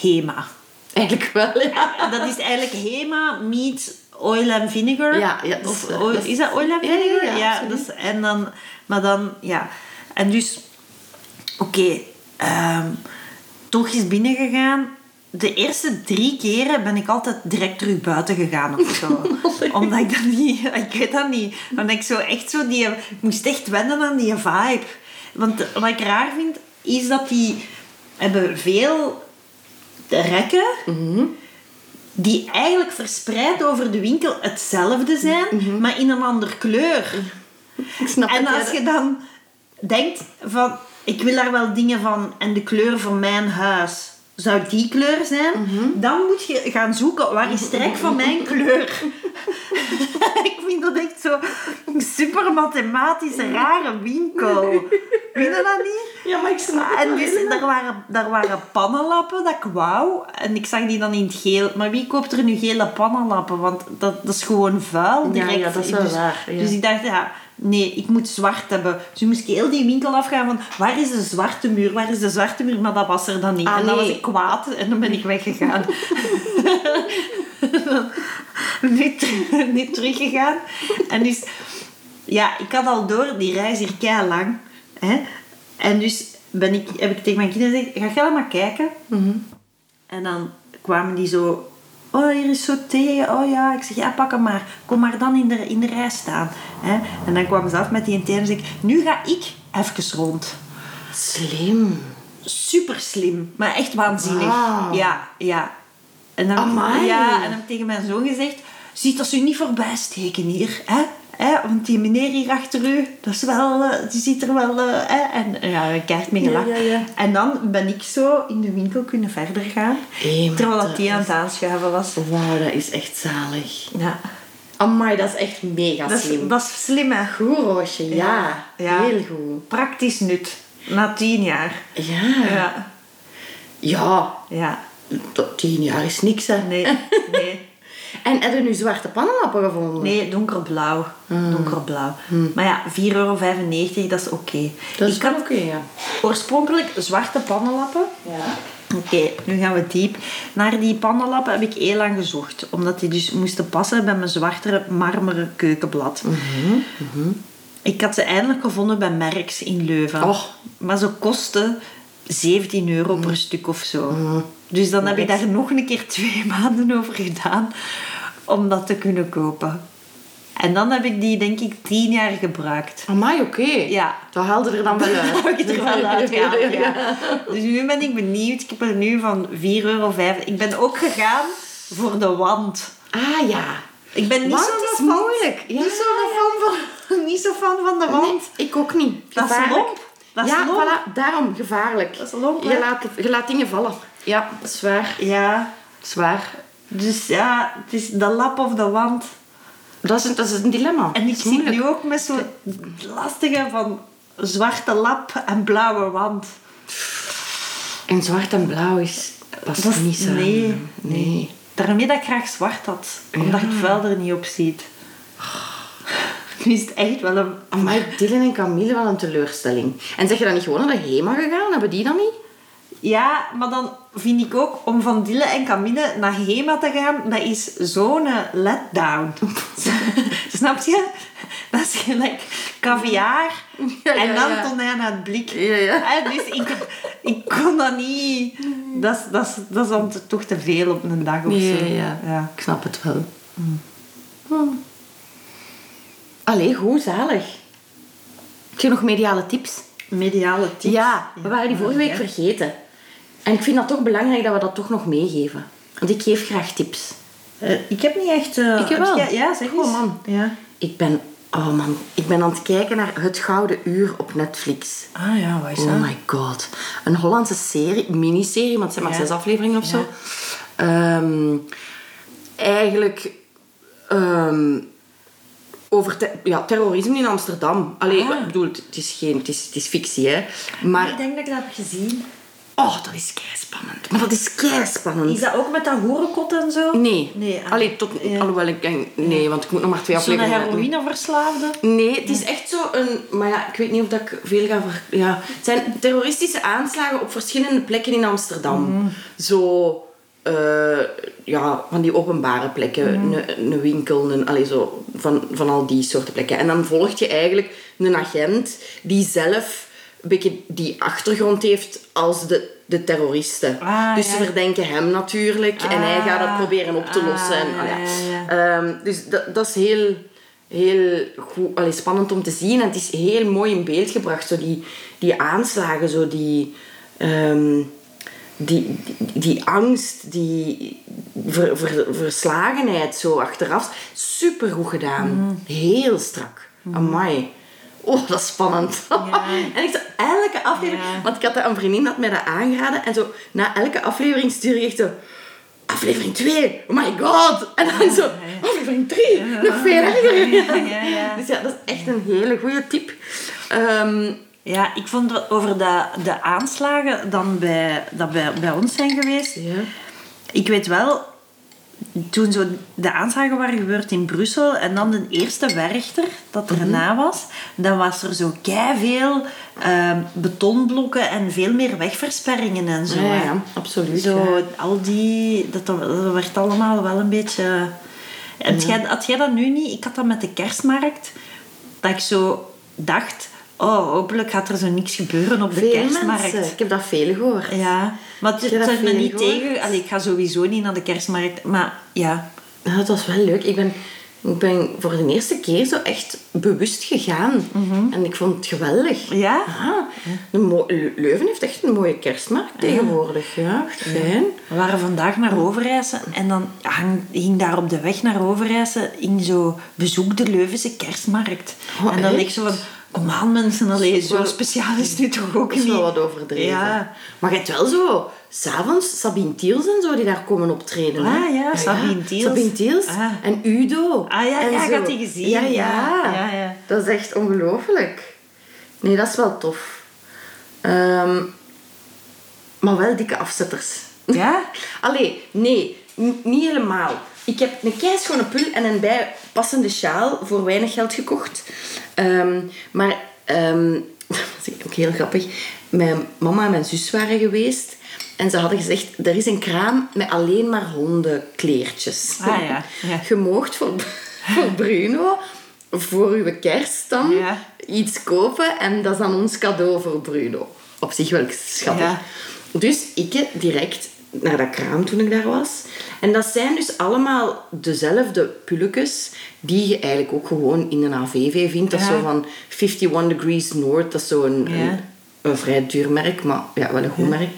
Hema.
Eigenlijk wel, ja.
Dat is eigenlijk Hema meets oil and vinegar.
Ja, ja, dat
Of
is- eh,
oil-
dat is-
is dat oil and
ja, ja, ja,
vinegar?
absoluut.
dat is, en dan, maar dan, ja. En dus, oké, ehm, toch is binnengegaan. De eerste drie keren ben ik altijd direct terug buiten gegaan of zo. Omdat ik dat niet, ik weet dat niet. Want ik zo echt zo die, ik moest echt wennen aan die vibe. Want wat ik raar vind, is dat die hebben veel rekken die eigenlijk verspreid over de winkel hetzelfde zijn, maar in een andere kleur.
Ik snap
En
het, ja,
als je dan denkt van, ik wil daar wel dingen van en de kleur van mijn huis zou die kleur zijn, dan moet je gaan zoeken waar is trek van mijn kleur. ik vind dat echt zo super mathematische rare winkel. Vind je dat niet?
Ja, maar ik snap het
En
wel,
dus,
inderdaad.
daar, waren, daar waren pannenlappen dat ik wou. En ik zag die dan in het geel. Maar wie koopt er nu gele pannenlappen? Want dat, dat is gewoon vuil.
Ja,
Direct.
ja, dat is wel
dus,
waar, ja.
Dus ik dacht, ja, nee, ik moet zwart hebben. Dus moest ik heel die winkel afgaan van... Waar is de zwarte muur? Waar is de zwarte muur? Maar dat was er dan niet.
Ah,
en dan
nee.
was ik kwaad. En dan ben ik weggegaan. niet, niet teruggegaan. En dus, ja, ik had al door, die reis hier kei lang. Hè? En dus ben ik, heb ik tegen mijn kinderen gezegd: ga jij dan maar kijken. En dan kwamen die zo. Oh, hier is zo thee. Oh ja, ik zeg, ja, pak hem maar. Kom maar dan in de, in de rij staan. Hè? En dan kwamen ze af met die thee en zei ik... Nu ga ik even rond.
Slim.
Super slim, maar echt waanzinnig.
Wauw.
Ja, ja. En dan,
Amai.
Ja, en dan heb ik tegen mijn zoon gezegd: ziet als u niet voorbij steken hier, hè? hè? Want die meneer hier achter u, dat is wel, eh, die ziet er wel, eh, hè? En ja, een kaart mee
Ja,
gelachen.
ja, ja.
En dan ben ik zo in de winkel kunnen verder gaan,
Hé, maar
terwijl dat
dat
die aan het aanschuiven was.
Wauw, dat is echt zalig.
Ja,
Amai, dat is echt mega
dat is,
slim.
dat is slim, hè?
Goed, Roosje. Ja.
Ja.
Heel goed.
Praktisch nut, na tien jaar.
Ja.
Ja,
Ja.
ja.
Tot tien jaar is niks, hè.
Nee, nee.
En heb je nu zwarte pannenlappen gevonden?
Nee, donkerblauw.
Ah.
Donkerblauw. Maar ja, 4,95 euro, dat is oké.
Hmm. Dat is
Ik had
oké, ja.
oorspronkelijk zwarte pannenlappen.
Ja.
Oké, nu gaan we diep. Naar die pannenlappen heb ik heel lang gezocht. Omdat die dus moesten passen bij mijn zwartere marmeren keukenblad. Ik had ze eindelijk gevonden bij Merks in Leuven.
Och.
Maar ze kosten 17 euro per stuk of zo. Dus dan heb ik daar nog een keer twee maanden over gedaan om dat te kunnen kopen. En dan heb ik die denk ik 10 jaar gebruikt.
Amai, oké.
Ja.
Dat haalde er dan wel uit.
Dan heb ik het er wel uitgehaald,
Ja, ja.
ja. Dus nu ben ik benieuwd. Ik heb er nu van 4,5 euro. Ik ben ook gegaan voor de wand.
Ah, ja.
Ik ben niet
Want
zo'n
het is
fan-
moeilijk. Ja,
niet zo'n fan van, niet zo fan van de wand.
Nee, ik ook niet.
Dat is
Gevaarlijk.
lomp. Dat is
ja,
lomp.
voilà. Daarom, gevaarlijk.
Dat is lomp, hè?
Je laat, het- je laat dingen vallen. Ja, zwaar.
Ja.
Zwaar.
Dus ja, het is de lap of de wand.
Dat is, een- dat is een dilemma.
En
Dat
ik
is
zit
moeilijk.
nu ook met zo'n lastige van zwarte lap en blauwe wand.
En zwart en blauw is... Past
Dat is-
niet zo.
nee,
Nee. Ah.
Daarmee dat ik graag zwart had. Omdat ik het vuil er niet op ziet. Nu is het echt wel een...
Maar Dylan en Camille, wel een teleurstelling. En zeg je dan niet gewoon naar de HEMA gegaan? Hebben die dan niet?
Ja, maar dan vind ik ook, om van Dille en Camille naar Hema te gaan, dat is zo'n eh, letdown. Snap je? Dat is gelijk caviar
Ja, ja,
en dan
ja.
tonijn aan het blik.
Ja, ja.
Hè, dus ik, ik kon dat niet... Dat is, dat is, dat is dan toch te veel op een dag of zo. Ja. Mm.
Ik snap het wel. Hmm. Allee, goed, zalig. Heb je nog mediale tips?
Mediale tips.
Ja, we waren die vorige week
ja.
vergeten. En ik vind dat toch belangrijk dat we dat toch nog meegeven. Want ik geef graag tips.
Eh, ik heb niet echt... eh,
Ik heb wel.
jij- Ja, zeg
Goh,
eens.
man.
Ja.
Ik ben, oh man, ik ben aan het kijken naar Het Gouden Uur op Netflix.
Ah ja, wat is dat?
Oh my god. Een Hollandse serie, miniserie, want het zijn maar
Ja.
zes afleveringen of zo. Ehm, eigenlijk ehm, over te- ja, terrorisme in Amsterdam. Allee,
Ah.
ik bedoel, het is, geen, het, is, het is fictie, hè. Maar,
Ik denk dat ik dat heb gezien.
oh, dat is keispannend. Maar dat is keispannend.
Is dat ook met dat horenkot en zo?
Nee.
Nee, ah.
Allee, tot,
Ja.
alhoewel ik denk... Nee, want ik moet nog maar twee
Zo'n
afleveringen uitdoen.
heroïneverslaafde?
Nee, het is echt zo een... Maar ja, ik weet niet of dat ik veel ga... Ver... Ja. Het zijn terroristische aanslagen op verschillende plekken in Amsterdam.
Mhm.
Zo... eh, ja, van die openbare plekken.
Mhm.
Een, een winkel, een, allee, zo, van, van al die soorten plekken. En dan volgt je eigenlijk een agent die zelf een beetje die achtergrond heeft als de, de terroristen.
Ah,
dus ze
ja.
verdenken hem natuurlijk en hij gaat dat
Ah,
proberen op te
ah,
lossen. en, ah,
ja,
ja.
ja, ja.
Ehm, dus dat, dat is heel, heel goed, allee, spannend om te zien. En het is heel mooi in beeld gebracht. Zo die, die aanslagen, zo die, ehm, die, die, die angst, die ver- ver- verslagenheid zo achteraf. Super goed gedaan.
Mhm.
Heel strak. Amai. Oh, dat is spannend. en ik zo, elke aflevering...
Ja.
Want ik had dat een vriendin had mij dat aangeraden. En zo, na elke aflevering stuur je echt zo... Aflevering 2, oh my god! En dan zo, aflevering 3, nog veel erger.
Ja, ja, ja.
Dus ja, dat is echt een hele goede tip. Ehm,
Ja, ik vond wat over de, de aanslagen dan bij, dat bij, bij ons zijn geweest. Ik weet wel, toen zo de aanslagen waren gebeurd in Brussel en dan de eerste werchter dat
Mhm.
erna was, dan was er zo veel betonblokken en veel meer wegversperringen en zo.
Ja, ja,
hè.
ja, absoluut,
Zo,
ja.
al die, dat, dat werd allemaal wel een beetje. Had, jij, had jij dat nu niet? Ik had dat met de kerstmarkt, dat ik zo dacht: oh, hopelijk gaat er zo niks gebeuren op de
veel
kerstmarkt.
mensen. Ik heb dat veel gehoord.
Ja, maar het
Heb je dat
zet me
veel
niet
gehoord?
tegen. Allee, ik ga sowieso niet naar de kerstmarkt. Maar ja,
Ja, dat was wel leuk. Ik ben, ik ben voor de eerste keer zo echt bewust gegaan. En ik vond het geweldig.
Mhm. Ja?
Een mo- Le- Leuven heeft echt een mooie kerstmarkt tegenwoordig. Ja, echt fijn.
we waren vandaag naar Overijse en dan hang, hing daar op de weg naar Overijse in zo bezoek de Leuvense kerstmarkt.
Oh,
en dan
echt?
denk ik zo van, kom aan mensen, allee, zo
Wel-
speciaal is het nu toch ook
Dat is
niet.
wel wat overdreven.
Ja.
Maar je hebt wel zo, s'avonds Sabine Tiels en zo die daar komen optreden. hè?
Ah, ja, Sabine Thiels.
Sabine Thiels
Ah.
en Udo.
Ah, ja,
en
ja, ik
zo.
had die gezien,
Ja, ja.
ja. Ja, ja.
Dat is echt ongelooflijk. Nee, dat is wel tof. Ehm, maar wel dikke afzetters.
Ja?
Allee, nee, n- niet helemaal. Ik heb een keischone pul en een bijpassende sjaal voor weinig geld gekocht. Ehm, maar, ehm, dat is ook heel grappig. Mijn mama en mijn zus waren geweest. En ze hadden gezegd, er is een kraam met alleen maar hondenkleertjes.
Ah, ja, ja.
Je moogt voor, voor Bruno, voor uw kerst dan,
Ja.
iets kopen. En dat is dan ons cadeau voor Bruno. Op zich wel schattig.
Ja.
Dus ik direct naar dat kraam toen ik daar was. En dat zijn dus allemaal dezelfde pulletjes die je eigenlijk ook gewoon in een AVV vindt. Dat is
Ja.
zo van 51 Degrees North. Dat is zo een,
Ja.
een, een vrij duur merk, maar ja, wel een goed merk.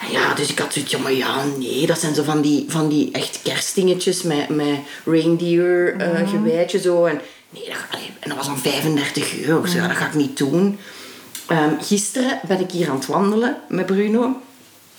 En ja, dus ik had zoiets ja, maar ja, nee, dat zijn zo van die, van die echt kerstdingetjes met, met reindeer eh geweidje zo. En, nee, dat, ga- allee, en dat was dan 35 euro, ik zei, ja, dat ga ik niet doen. Ehm, gisteren ben ik hier aan het wandelen met Bruno.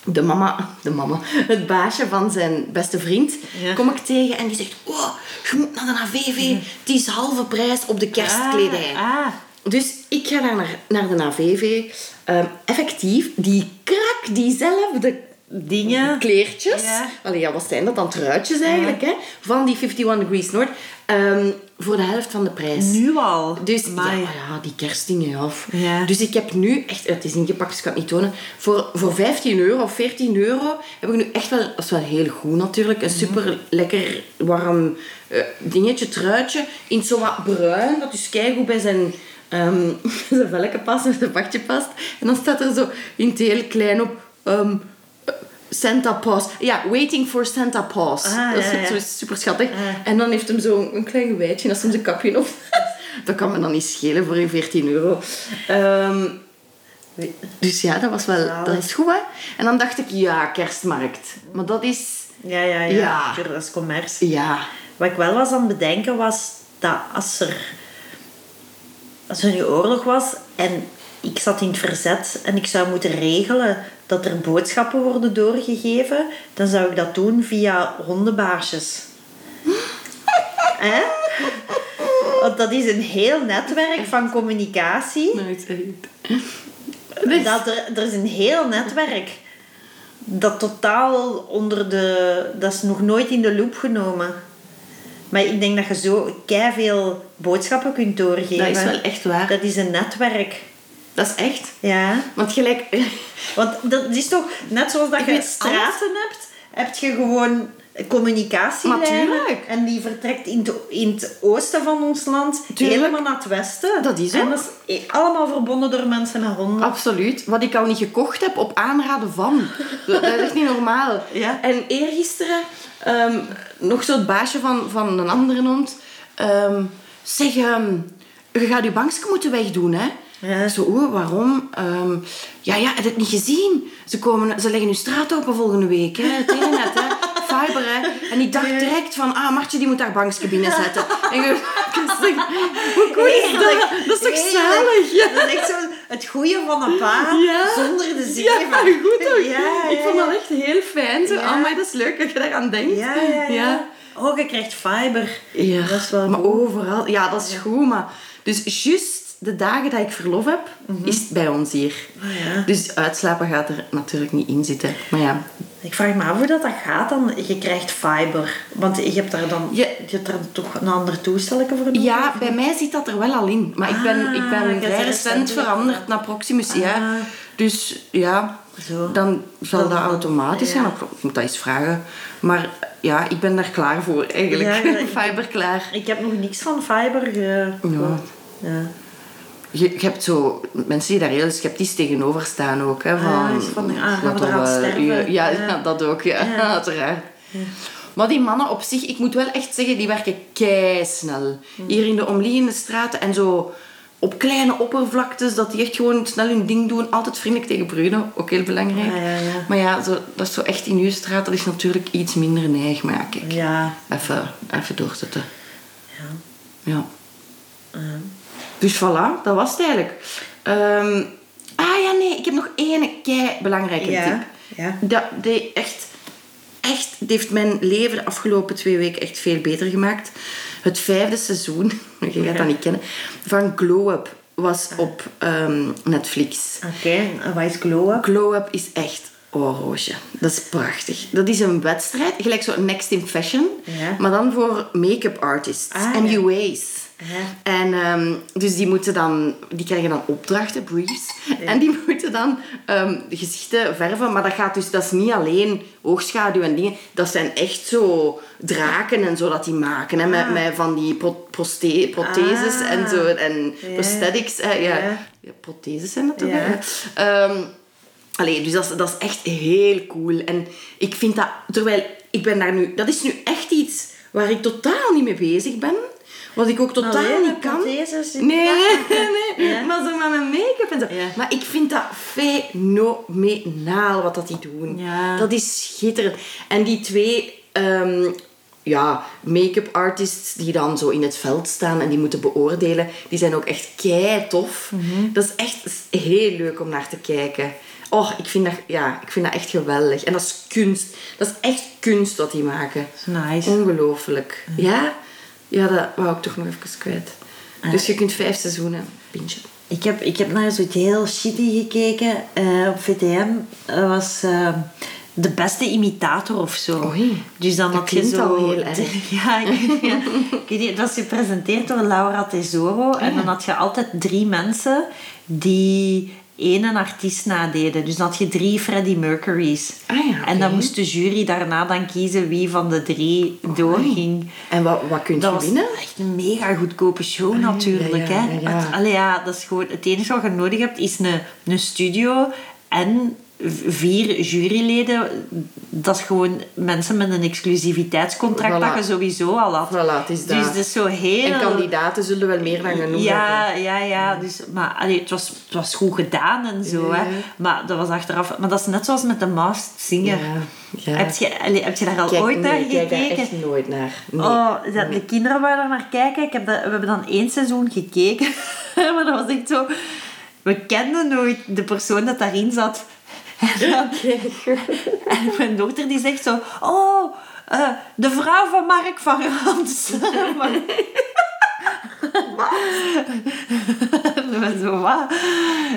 De mama, de mama, het baasje van zijn beste vriend,
Ja.
kom ik tegen en die zegt, oh, je moet naar de AVV, het is halve prijs op de kerstkledij.
Ah, ah.
Dus ik ga daar naar, naar de AVV. Ehm, effectief, die krak diezelfde
dingen.
kleertjes.
Ja.
Allee, ja, wat zijn dat dan? Truitjes eigenlijk, hè? Van die 51 Degrees North. ehm, voor de helft van de prijs.
Nu al.
Dus ja,
Amai.
ja, die kerstdingen, ja.
Ja.
Dus ik heb nu echt... Het is ingepakt, dus ik kan het niet tonen. Voor, voor 15 euro of 14 euro heb ik nu echt wel... Dat is wel heel goed natuurlijk.
Mhm.
Een super lekker warm eh, dingetje, truitje. In het zo wat bruin, dat dus keigoed bij zijn... ehm zijn velken past en zijn bakje past. En dan staat er zo in het heel klein op... ehm, eh, Santa Paws. Ja, Waiting for Santa Paws.
Ah,
dat is dus.
ja, ja.
zo super schattig. En dan heeft hem zo een klein gewijtje naast hem zijn kapje op. dat kan me dan niet schelen voor je 14 euro. Ehm, dus ja, dat was wel... Dat is goed, hè? En dan dacht ik, ja, kerstmarkt. Maar dat is...
Ja, ja, ja.
Ja.
Zeker, Dat is commerce.
Ja.
Wat ik wel was aan het bedenken was dat als er, als er nu oorlog was en ik zat in het verzet en ik zou moeten regelen dat er boodschappen worden doorgegeven, dan zou ik dat doen via hondenbaarsjes. Hè? Want dat is een heel netwerk van communicatie.
Nooit echt. Dus,
Dat er, er is een heel netwerk dat totaal onder de... Dat is nog nooit in de loop genomen. Maar ik denk dat je zo veel boodschappen kunt doorgeven.
Dat is wel echt waar.
Dat is een netwerk.
Dat is echt.
Ja.
Want gelijk...
Want dat is toch... Net zoals dat
Ik
je
weet
straten hebt, heb je gewoon communicatielijnen.
Natuurlijk.
En die vertrekt in het, in het oosten van ons land
Tuurlijk.
helemaal naar het westen.
Dat is
En
ook.
dat is e-, allemaal verbonden door mensen en honden.
Absoluut. Wat ik al niet gekocht heb op aanraden van. Dat dat is echt niet normaal.
Ja.
En eergisteren ehm nog zo het baasje van, van een andere hond. ehm, zeg, ehm, je gaat je bankje moeten wegdoen, hè?
Ja.
Ik Zo, oeh, waarom? Ehm, ja, ja, heb je het niet gezien? Ze, komen, ze leggen hun straat open volgende week, hè? Het internet, hè? Fiber, hè? En ik dacht direct van, ah, Martje, die moet haar bankje binnenzetten. En je, ik zeg, hoe cool is dat?
Heerlijk.
Dat is toch
Heerlijk.
zalig? Ja.
Dat is echt zo het goeie van een pa
Ja.
zonder de zeven.
Ja, goed ook.
Ja,
ik
ja,
vond dat
ja.
echt heel fijn. Zo,
Ja.
ah, maar dat is leuk dat je daaraan denkt.
Ja, ja, ja.
ja.
Oh, je krijgt fiber.
Ja,
Dat is wel
maar
goed.
overal. Ja, dat is goed. Maar, dus juist de dagen dat ik verlof heb, is het bij ons hier.
Mhm. Ah, ja.
Dus uitslapen gaat er natuurlijk niet in zitten. Maar ja,
Ik vraag me af hoe dat, dat gaat dan. Je krijgt fiber. Want je hebt daar dan
Ja.
je hebt daar toch een ander toestelletje voor nodig?
ja bij mij zit dat er wel al in. Maar ik ben, ik
Ah,
ben
je
vrij
bent
recent
recent
veranderd naar Proximus. Ja.
Ah.
Dus ja,
Zo.
dan zal
Dan-
dat automatisch
ja.
gaan. Ik moet dat eens vragen. Maar ja, ik ben daar klaar voor eigenlijk.
Ja, ja, ik-
Fiber klaar.
Ik heb nog niks van fiber ge... gehoord. Ja.
Je, je hebt zo mensen die daar heel sceptisch tegenover staan ook. Hè, van,
Ah, is van, ah, gaan we
dat er
eraan
wel-
sterven?
Ja, ja,
Ja.
dat ook, ja, uiteraard. Maar die mannen op zich, ik moet wel echt zeggen, die werken keisnel. Hier in de omliggende straten en zo op kleine oppervlaktes, dat die echt gewoon snel hun ding doen. Altijd vriendelijk tegen bruinen, ook heel belangrijk.
Ah, Ja, ja, ja.
Maar ja, zo, dat is zo echt in uw straat, dat is natuurlijk iets minder neig, merk ik.
Ja.
Even, even doorzetten.
Ja.
Ja. Dus voilà, dat was het eigenlijk. Ehm, ah ja, nee, ik heb nog één kei belangrijke
Ja,
tip.
ja.
Dat die echt, echt, die heeft mijn leven de afgelopen twee weken echt veel beter gemaakt. Het vijfde seizoen, je gaat dat niet kennen, van Glow Up
Ah.
was op ehm, Netflix.
Oké, en wat is glow-up?
Glow-up is echt oranje. Dat is prachtig. Dat is een wedstrijd, gelijk zo Next in Fashion,
Ja.
maar dan voor make-up artists
Ah,
en
ja.
UA's.
Ja.
En ehm, dus die moeten dan, die krijgen dan opdrachten, briefs, en die moeten dan ehm, gezichten verven. Maar dat gaat dus, dat is niet alleen oogschaduw en dingen. Dat zijn echt zo draken en zo dat die maken, hè, met, met van die pro- proste- protheses
Ah.
en zo en
Ja.
prosthetics. hè, ja.
Ja.
Ja, protheses zijn dat toch?
Ja.
hè? Ehm, allee, dus dat is, dat is echt heel cool. En ik vind dat, terwijl ik ben daar nu, dat is nu echt iets waar ik totaal niet mee bezig ben. Wat ik ook totaal
Alleen
niet
de
kan.
protheses die-
nee, nee, nee.
Ja.
Maar zo met mijn make-up en zo.
Ja.
Maar ik vind dat fenomenaal wat dat die doen.
Ja.
Dat is schitterend. En die twee ehm, ja, make-up artists die dan zo in het veld staan en die moeten beoordelen, die zijn ook echt kei tof.
Mhm.
Dat is echt heel leuk om naar te kijken. Och, ik vind, dat, ja, ik vind dat echt geweldig. En dat is kunst. Dat is echt kunst wat die maken.
Nice.
Ongelooflijk. Ja? Ja, dat wou ik toch nog even kwijt. Dus je kunt vijf seizoenen. Pintje.
Ik heb, ik heb naar zoiets heel shitty gekeken eh, op VTM. Dat was eh, de beste imitator of zo.
Oei,
dus dan
dat
had je
klinkt
zo...
al heel erg.
Ja, ik, ja, ik weet niet, het was gepresenteerd door Laura Tesoro.
Ah,
En dan had je altijd drie mensen die één artiest nadeden. Dus dan had je drie Freddie Mercury's.
Ah ja,
En dan
oké.
moest de jury daarna dan kiezen wie van de drie doorging.
En wat, wat kun je
Dat was
winnen? Ah,
echt een mega goedkope show natuurlijk.
ja,
hè.
ja, ja.
Het, allee, ja, dat is gewoon, het enige wat je nodig hebt is een, een studio en v- vier juryleden. Dat is gewoon mensen met een exclusiviteitscontract
Voilà.
dat je sowieso al had.
Voilà, het is
dus
dat.
het is zo heel...
En kandidaten zullen wel meer dan genoeg hebben.
Ja, ja, ja. Dus, maar allee, het, was, het was goed gedaan en zo.
Ja.
Hè. Maar dat was achteraf... Maar dat is net zoals met de Masked Singer.
Ja, ja.
Heb, je, allee, heb je daar al
Kijk,
ooit naar
nee, ik kijk daar
gekeken?
echt nooit naar. Nee.
Oh, ja, de kinderen waren er naar kijken. Ik heb dat, we hebben dan één seizoen gekeken. maar dat was echt zo... We kenden nooit de persoon dat daarin zat. En, dan- en mijn dochter die zegt zo... Oh, eh, de vrouw van Mark van Rans. Maar- Dat was zo, wat?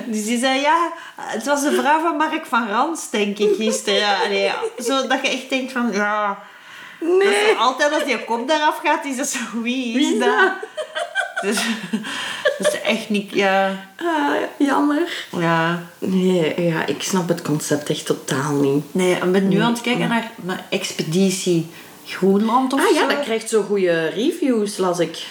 Dus die zei, ja, het was de vrouw van Mark van Rans, denk ik, gisteren. Ja, allee, ja. Zo dat je echt denkt van, ja... Dat is zo altijd als je kop daaraf gaat, is dat zo, wie is dat? Dus, dat is echt niet, ja...
Ah, jammer.
Ja,
Nee, ja, ik snap het concept echt totaal niet.
nee, ik ben nu aan het kijken naar mijn expeditie Groenland of
Ah ja,
zo.
dat krijgt zo goede reviews, las ik.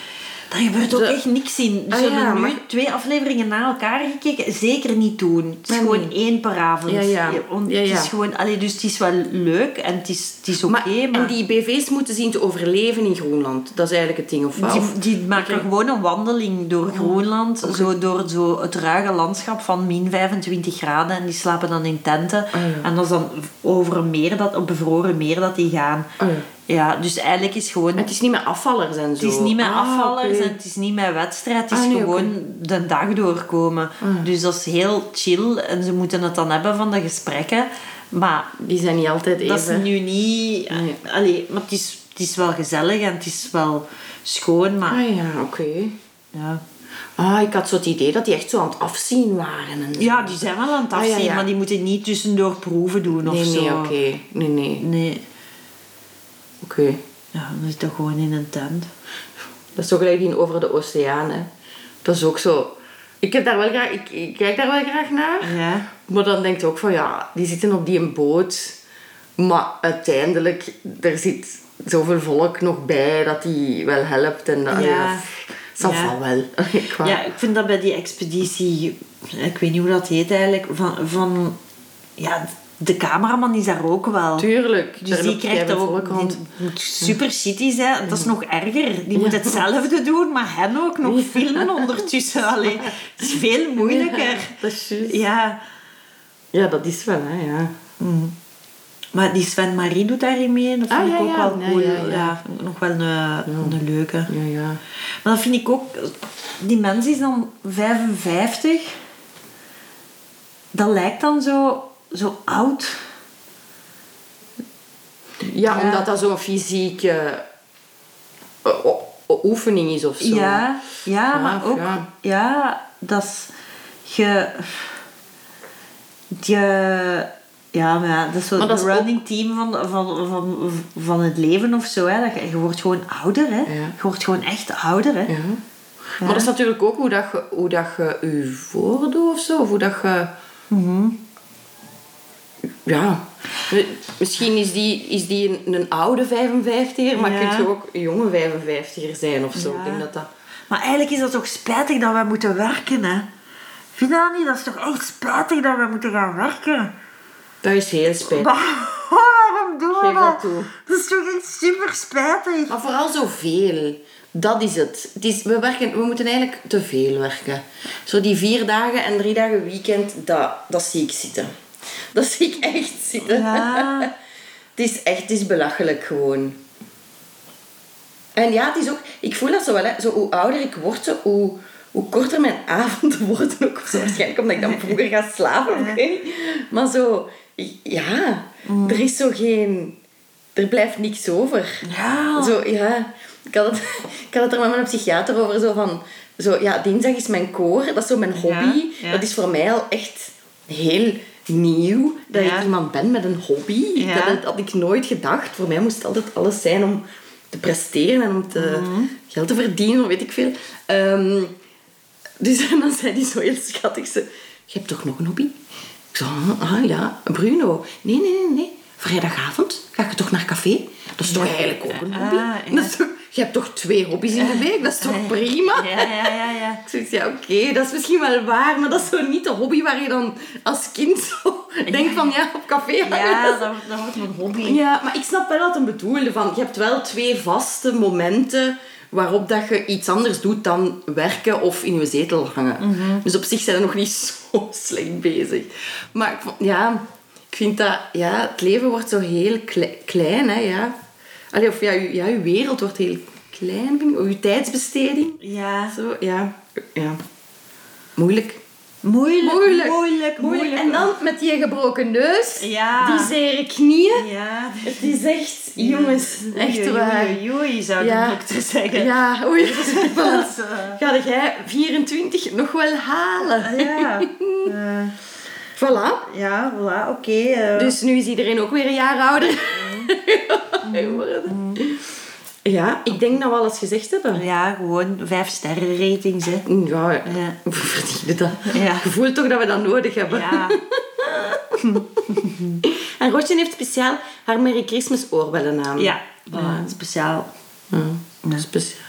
Daar gebeurt ook
De-
echt niks in. Dus
Ah
we hebben
ja,
nu
maar-
twee afleveringen na elkaar gekeken. Zeker niet doen. Het is
Ah,
gewoon
nee.
één per avond.
Ja, ja.
want
Ja, ja.
Het is gewoon, allee, dus het is wel leuk en het is, het is oké,
Maar,
maar...
En die BV's moeten zien te overleven in Groenland. Dat is eigenlijk het ding, of wat?
Die, die maken gewoon een wandeling door
Oh,
Groenland, zo door zo het ruige landschap van min 25 graden. En die slapen dan in tenten.
Oh,
En dat is dan over een meer, dat, op bevroren meer dat die gaan.
Ah, ja.
Ja, dus eigenlijk is gewoon...
Het is niet met afvallers en zo.
Het is niet met
Ah,
afvallers
oké.
en het is niet met wedstrijd. Het is
Ah, nee, Ah,
gewoon de dag doorkomen. Dus dat is heel chill. En ze moeten het dan hebben van de gesprekken. Maar
Die zijn niet altijd even...
dat is nu niet...
Nee.
Allee, maar het is, het is wel gezellig en het is wel schoon. Maar
Ah ja, oké.
ja.
Ah, ik had zo het idee dat die echt zo aan het afzien waren. En...
Ja, die zijn wel aan het
Ah, ja,
afzien,
ja.
maar die moeten niet tussendoor proeven doen of
Nee,
zo.
nee, oké. Nee, nee.
Nee.
Oké.
Ja, dan zit toch gewoon in een tent.
Dat is zo gelijk in Over de Oceaan, hè. Dat is ook zo... Ik, heb daar wel graag, ik, ik kijk daar wel graag naar.
Ja.
Maar dan denk je ook van, ja, die zitten op die een boot. Maar uiteindelijk, er zit zoveel volk nog bij dat die wel helpt. En dat,
Ja.
ja. Dat
Ja.
zal wel. Qua-
Ja, ik vind dat bij die expeditie, ik weet niet hoe dat heet eigenlijk, van, van ja, de cameraman is daar ook wel.
Tuurlijk.
Dus die krijgt
er
dat ook
rond.
die moet super shitty zijn. En dat is
Mm.
nog erger. Die moet hetzelfde doen, maar hen ook nog filmen ondertussen. Allee, het is veel moeilijker.
Dat is juist.
Ja,
Ja, dat is wel, hè, ja.
maar die Sven Marie doet daarin mee. Dat vind
Ah,
ik
ja,
ook
ja.
wel
Ja,
cool.
ja,
Ja,
ja.
vond ik nog wel een, een leuke.
Ja, ja.
Maar dat vind ik ook... Die mens is dan 55. Dat lijkt dan zo, zo oud.
Ja,
Ja.
omdat dat zo'n fysieke eh, o- o- oefening is of zo.
Ja, ja, maar
Ja,
ook...
ja.
Ja, dat is... Je... Je... Ja, maar ja, dat is zo
Maar dat
de
is ook-
running team van, van, van, van het leven of zo. Hè. Dat je, je wordt gewoon ouder, hè.
Ja.
Je wordt gewoon echt ouder, hè.
Ja. Maar dat is natuurlijk ook hoe dat je hoe dat je, je voordoet of zo. Of hoe dat je...
Mhm.
Ja. Mi- Misschien is die, is die een, een oude 55er, maar
Ja.
kun je ook een jonge 55er zijn of zo.
Ja.
Ik denk dat dat...
Maar eigenlijk is dat toch spijtig dat wij moeten werken, hè? Vind je dat niet? Dat is toch echt spijtig dat wij moeten gaan werken?
Dat is heel spijtig.
Maar waarom doen we
Geef dat
dat?
toe.
Dat is toch echt super spijtig?
Maar vooral zoveel. Dat is het. het is, we, werken, we moeten eigenlijk te veel werken. Zo die vier dagen en drie dagen weekend, dat, dat zie ik zitten. Dat zie ik echt zitten.
Ja.
het is echt het is belachelijk gewoon. En ja, het is ook... Ik voel dat zo wel, hè. Zo, hoe ouder ik word, zo, hoe, hoe korter mijn avonden worden ook. Zo, waarschijnlijk omdat ik dan vroeger ga slapen, of ik weet niet. Maar zo... Ja, er is zo geen... Er blijft niks over.
Ja.
Zo, ja. Ik had, het, ik had het er met mijn psychiater over, zo van... Zo, ja, dinsdag is mijn koor, dat is zo mijn hobby.
Ja, ja.
Dat is voor mij al echt heel nieuw dat
Ja.
ik iemand ben met een hobby.
Ja.
Dat, had- had ik nooit gedacht. Voor mij moest altijd alles zijn om te presteren en om te,
Mhm.
geld te verdienen, of weet ik veel. Ehm, dus en dan zei die zo heel schattig, ze, je hebt toch nog een hobby? Ik zei, ah ja, Bruno. Nee, nee, nee, nee. Vrijdagavond ga je toch naar café? Dat is toch eigenlijk ook een hobby?
Ah, ja.
dat is toch, je hebt toch twee hobby's in de week? Dat is toch prima?
Ja, ja, ja, ja.
Ik zoiets, ja, oké, dat is misschien wel waar, maar dat is zo niet de hobby waar je dan als kind zo denkt van, ja, op café gaan.
Ja, dat, wordt- dat wordt mijn hobby.
Ja, maar ik snap wel wat hem bedoelde. Van, je hebt wel twee vaste momenten waarop dat je iets anders doet dan werken of in je zetel hangen.
Mhm.
Dus op zich zijn we nog niet zo slecht bezig. Maar ik vond- ja, ik vind dat... Ja, het leven wordt zo heel kle- klein, hè, ja. Allee, of ja, je, ja, je wereld wordt heel klein, vind ik. Of je tijdsbesteding.
Ja.
Zo, ja. Ja. Moeilijk.
Moeilijk,
Moeilijk.
moeilijk, moeilijk.
En dan met die gebroken neus,
Ja.
die zere knieën.
Ja.
Het is echt, jongens, echt
Oei,
waar.
Oei, oei, zou
Ja.
de dokter zeggen.
Ja, oei.
Dat is, eh,
Dus, Ga jij 24 nog wel halen?
ja. Eh,
Voilà.
ja, voilà, oké. eh,
Dus nu is iedereen ook weer een jaar ouder. Worden. Ja, ik denk dat we alles gezegd hebben.
Ja, gewoon vijf sterren ratings, hè.
Ja,
Ja.
we verdienen dat.
Ja.
Je voelt toch dat we dat nodig hebben.
Ja.
En Rotje heeft speciaal haar Merry Christmas oorbellen aan.
Ja, eh, speciaal.
Ja,
Ja.
speciaal.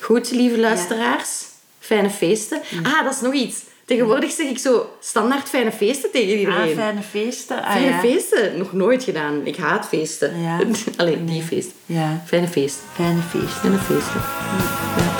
Goed, lieve luisteraars. Fijne feesten.
Mm.
Ah, dat is nog iets. Tegenwoordig zeg ik zo standaard fijne feesten tegen
Ah,
iedereen.
fijne feesten. Ah,
fijne
ja.
feesten? Nog nooit gedaan. Ik haat feesten.
Ja.
Alleen die feesten.
Ja,
Fijne feesten.
fijne feesten.
Fijne feesten. Ja.